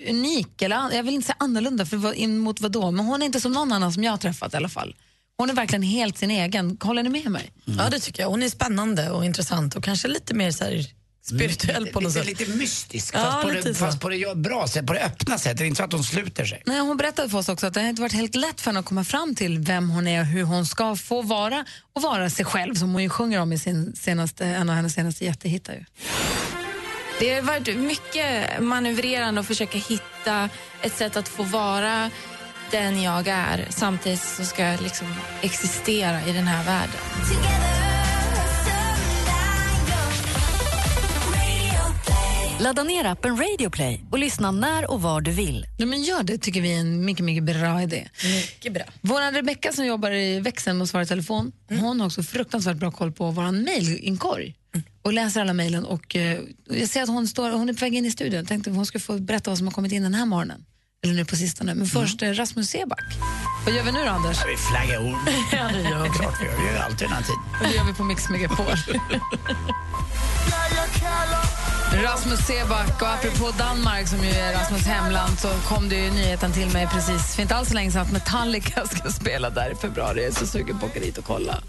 unik, eller an- jag vill inte säga annorlunda för vad, in mot vad då, men hon är inte som någon annan som jag har träffat i alla fall. Hon är verkligen helt sin egen. Håller ni med mig?
Ja, det tycker jag. Hon är spännande och intressant och kanske lite mer så här spirituell på något
lite,
sätt.
Mm. lite mystisk,
Ja,
fast, på
lite
det,
så.
fast på det bra sättet, på det öppna sättet. Det är inte så att hon sluter sig.
Nej, hon berättade för oss också att det har inte varit helt lätt för henne att komma fram till vem hon är och hur hon ska få vara och vara sig själv som hon ju sjunger om i sin senaste, en av hennes senaste jättehittar. Ju.
Det har varit mycket manövrerande och försöka hitta ett sätt att få vara den jag är samtidigt så ska jag liksom existera i den här världen.
Ladda ner appen Radio Play och lyssna när och var du vill.
Nej, men gör det tycker vi är en mycket, mycket bra idé. Mycket bra. Mm. Vår Rebecka som jobbar i växeln och svarar i telefon, hon har också fruktansvärt bra koll på vår mejlinkorg och läser alla mejlen. Och, eh, jag ser att hon, står, hon är på väg in i studion. Jag tänkte att hon skulle få berätta vad som har kommit in den här morgonen. Eller nu på sistone. Men först eh, Rasmus Seback. Vad gör vi nu då, Anders?
Vi flaggar ord.
Ja, det gör vi.
Klart vi gör. Vi gör alltid den här tiden.
Och det gör vi på Mix Megapol. Rasmus Seback och apropå Danmark som ju är Rasmus hemland så kom det ju nyheten till mig precis för inte alls så länge sedan att Metallica ska spela där i februari. Jag är så sugen på att åka dit och kolla.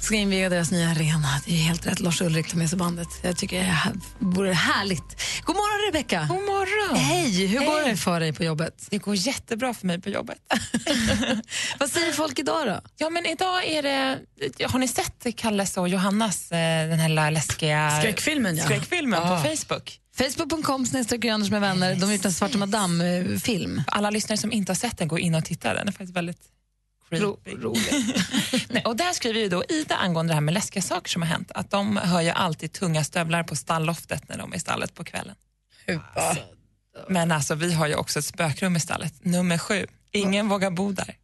Ska inviga deras nya arena. Det är ju helt rätt. Lars Ulrik tar med sig bandet. Jag tycker det här vore härligt. God morgon, Rebecka! God morgon! Hej! Hur går det för dig på jobbet?
Det går jättebra för mig på jobbet.
Vad säger folk idag då?
Ja, men idag är det... Har ni sett Kalles och Johannas, eh, den här lilla läskiga...
Skräckfilmen, ja.
Skräckfilmen
Ja.
på Facebook.
Facebook.com snedstreck Gry Anders med vänner. De har gjort en Svarta eh, Madame-film.
Alla lyssnare som inte har sett den, gå in och titta. Den är faktiskt väldigt creepy. Nej, och där skriver ju då Ida angående det här med läskiga saker som har hänt, att de hör ju alltid tunga stövlar på stalloftet när de är i stallet på kvällen. Alltså. Men alltså, vi har ju också ett spökrum i stallet, nummer sju. Ingen vågar bo där.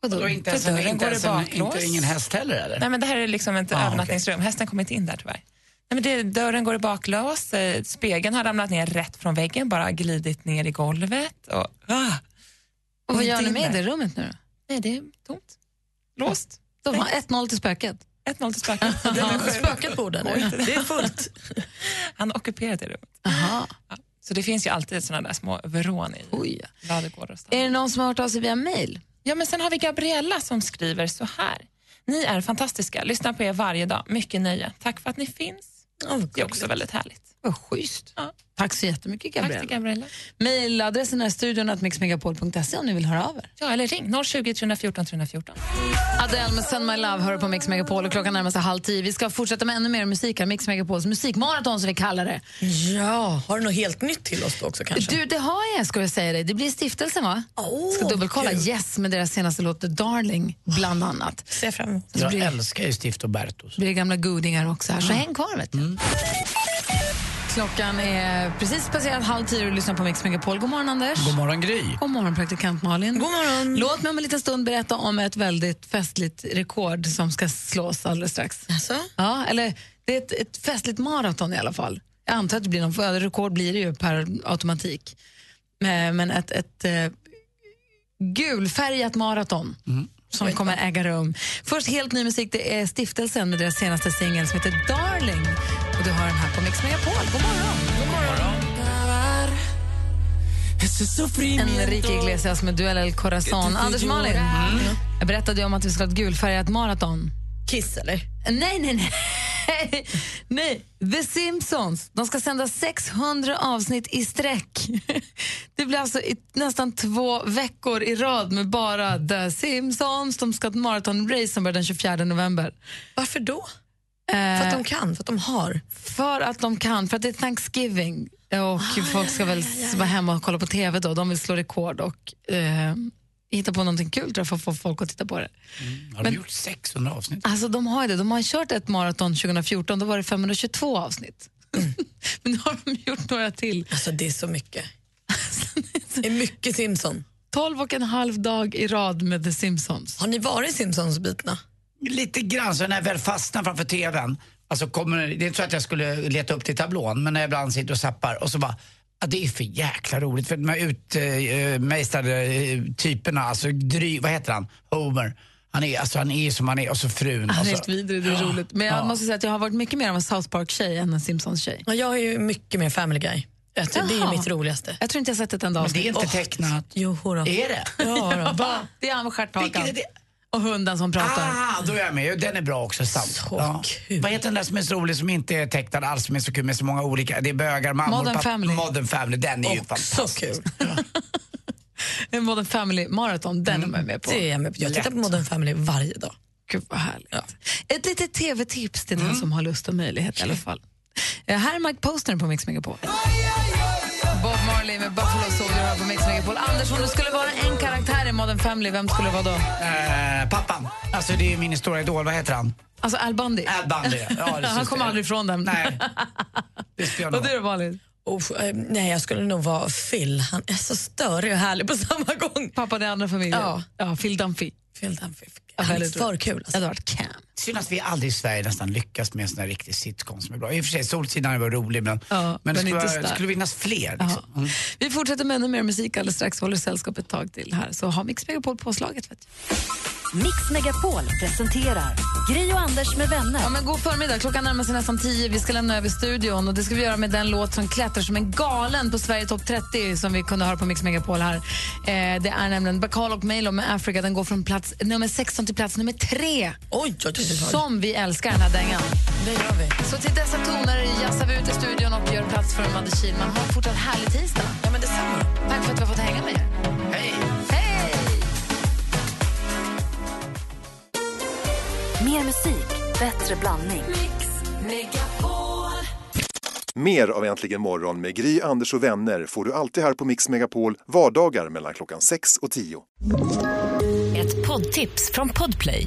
Vadå? Och inte ens
För
en-
dörren
inte
går i
ens en-
baklås.
inte- ingen häst heller, eller?
Nej, men det här är liksom ett
Ah, okej.
övernattningsrum. Hästen kommer inte in där tyvärr. Nej, men det, dörren går i baklås, eh, spegeln har ramlat ner rätt från väggen, bara glidit ner i golvet. Och, ah,
Och vad gör ni med det
rummet?
rummet nu då?
Nej, det är tomt. Låst.
Då var 1-0 till spöket.
1-0 till spöket.
Spöket bor där nu.
Det är fullt. Han har ockuperat det rummet.
Aha.
Så det finns ju alltid såna där små vrån i ladugårdar och
Är det någon som har hört av sig via mail?
Ja, men sen har vi Gabriella som skriver så här. Ni är fantastiska. Lyssnar på er varje dag. Mycket nöje. Tack för att ni finns.
Oh.
det är också väldigt härligt.
Vad schysst. Tack så jättemycket
Tack till
Gabriella.
Gabriella.
Mailadressen är studion att mixmegapol.se om ni vill höra av er.
Ja, eller ring 020 314 314.
Adele med Send My Love hör på Mix Megapol och klockan närmar sig halv tio. Vi ska fortsätta med ännu mer musik här, Mix Megapols musikmaraton som vi kallar det.
Ja, har du något helt nytt till oss då också kanske?
Du, det har jag ska jag säga dig. Det blir stiftelsen va? Oh, ska dubbelkolla
kul.
Yes med deras senaste låt The Darling bland annat.
Ser fram emot.
Så
Jag
blir,
älskar ju Stift och Mm. Bertos.
blir det gamla godingar också här, så häng kvar vet du. Klockan är precis passerat halv tio och du lyssnar på Mix Megapol. God morgon Anders.
God morgon Gry.
God morgon, praktikant Malin. God morgon. Låt mig om en liten stund berätta om ett väldigt festligt rekord som ska slås alldeles strax. Ja, eller det är ett, ett festligt maraton i alla fall. Jag antar att det blir någon, för rekord blir det ju per automatik. Men men ett, ett eh, gulfärgat maraton som kommer äga rum. Först helt ny musik, det är Stiftelsen med deras senaste singel som heter Darling. Och du har den här på Mix Megapol. God morgon! God morgon. Enrique Iglesias med Duell El Corazon. Anders Malin, jag berättade ju om att vi ska ha ett gulfärgat maraton.
Mm. Kiss eller?
Nej, nej, nej. Nej, The Simpsons. De ska sända 600 avsnitt i sträck. Det blir alltså i, nästan två veckor i rad med bara The Simpsons. De ska ha ett maratonrace som börjar den 24 november. Eh,
Varför då?
För
att de kan, för att de har.
För att de kan, för att det är Thanksgiving. Och
Ah,
folk ska väl s- vara hemma och kolla på TV då. De vill slå rekord och eh, hitta på någonting kul tror jag, för att få folk att titta på det.
Mm. Har
Men-
de gjort 600 avsnitt?
Alltså de har ju det. De har kört ett maraton 2014, då var det 522 avsnitt. Men nu har de gjort några till. Alltså,
Alltså det är så mycket. det är mycket Simpson.
12 och en halv dag i rad med The Simpsons.
Har ni varit Simpsons-bitna?
Lite grann, så när jag väl fastnar framför TVn, alltså kommer, det är inte så att jag skulle leta upp till tablån, men när jag ibland sitter och zappar och så bara Ja, det är för jäkla roligt för de här utmejslade typerna, alltså dry, vad heter han, Homer. Han är, alltså, han är som han är och så frun.
Han är
alltså.
helt vidrig, det är roligt. Men jag måste säga att jag har varit mycket mer av en South Park-tjej än en Simpsons-tjej.
Ja, jag är ju mycket mer Family Guy. Jag tror- Alltså, Det är
Jaha.
ju mitt roligaste.
Jag tror inte jag har sett ett enda
Men
avsnitt.
det är inte
Åh,
tecknat. Jo, då.
Är det?
Ja, då.
Va? Det är han med stjärthakan.
Vilket är det?
Och hunden som pratar.
Ah, då är jag med. Den är bra också, sant. Ja. Vad heter den där som är så rolig som inte är tecknad alls, som är så kul med så många olika, det är bögar, mammor,
Modern
papp-
Family.
Modern Family, den är ju fantastisk.
kul.
En Modern Family Marathon, den Mm. är man med på.
Det är jag med på. Jag tittar på Modern Family varje dag.
Gud vad härligt. Mm. Ett litet tv-tips till den som har lust och möjlighet i alla fall. Eh, Här är Mike Postner på Mix Megapol. Bob Marley med Buffalo Soldier här på Mix Megapol. Anders, om du skulle vara en karaktär i Modern Family, vem skulle det vara då?
Eh, pappan, alltså det är ju min stora idol, vad heter han?
Alltså Al Bundy?
Al Bundy, ja, det
Han
syns
kommer
det.
aldrig ifrån den.
Nej. Och
du
då, Malin?
eh, nej, jag skulle nog vara Phil. Han är så störig och härlig på samma gång.
Pappa den andra familjen?
Ja.
ja Phil Dunphy.
Phil Dunphy.
Ja,
Han är
väldigt
för
roligt.
kul. Alltså.
Det hade varit Cam.
Synd att vi aldrig i Sverige nästan lyckas med en sån här riktig sitcom som är bra. I och för sig, Solsidan var rolig men,
Ja,
men det
men
skulle,
inte
vara-
så där.
det skulle vinnas fler. Liksom. Mm.
Vi fortsätter med ännu mer musik alldeles strax. Håller sällskap ett tag till här. Så ha Mix Megapol påslaget. Vet
Mix Megapol presenterar Gri och Anders med vänner.
Ja, men god förmiddag. Klockan närmar sig nästan tio. Vi ska lämna över studion. Och Det ska vi göra med den låt som klättrar som en galen på Sverige topp 30 som vi kunde höra på Mix Megapol här. Eh, det är nämligen Bacall och Milo med Africa. Den går från plats nummer 16 till plats nummer 3.
Oj, oj, oj.
Som vi älskar den här dängan.
Det gör vi.
Så till dessa toner jassar vi ut i studion och gör plats för Madde Kihlman. Ha en fortsatt härlig tisdag.
Ja, men detsamma.
Tack för att vi har fått hänga med er.
Hej!
Hej!
Mer musik, bättre blandning.
Mer av Äntligen morgon med Gry, Anders och vänner får du alltid här på Mix Megapol vardagar mellan klockan 6 och 10.
Ett poddtips från Podplay.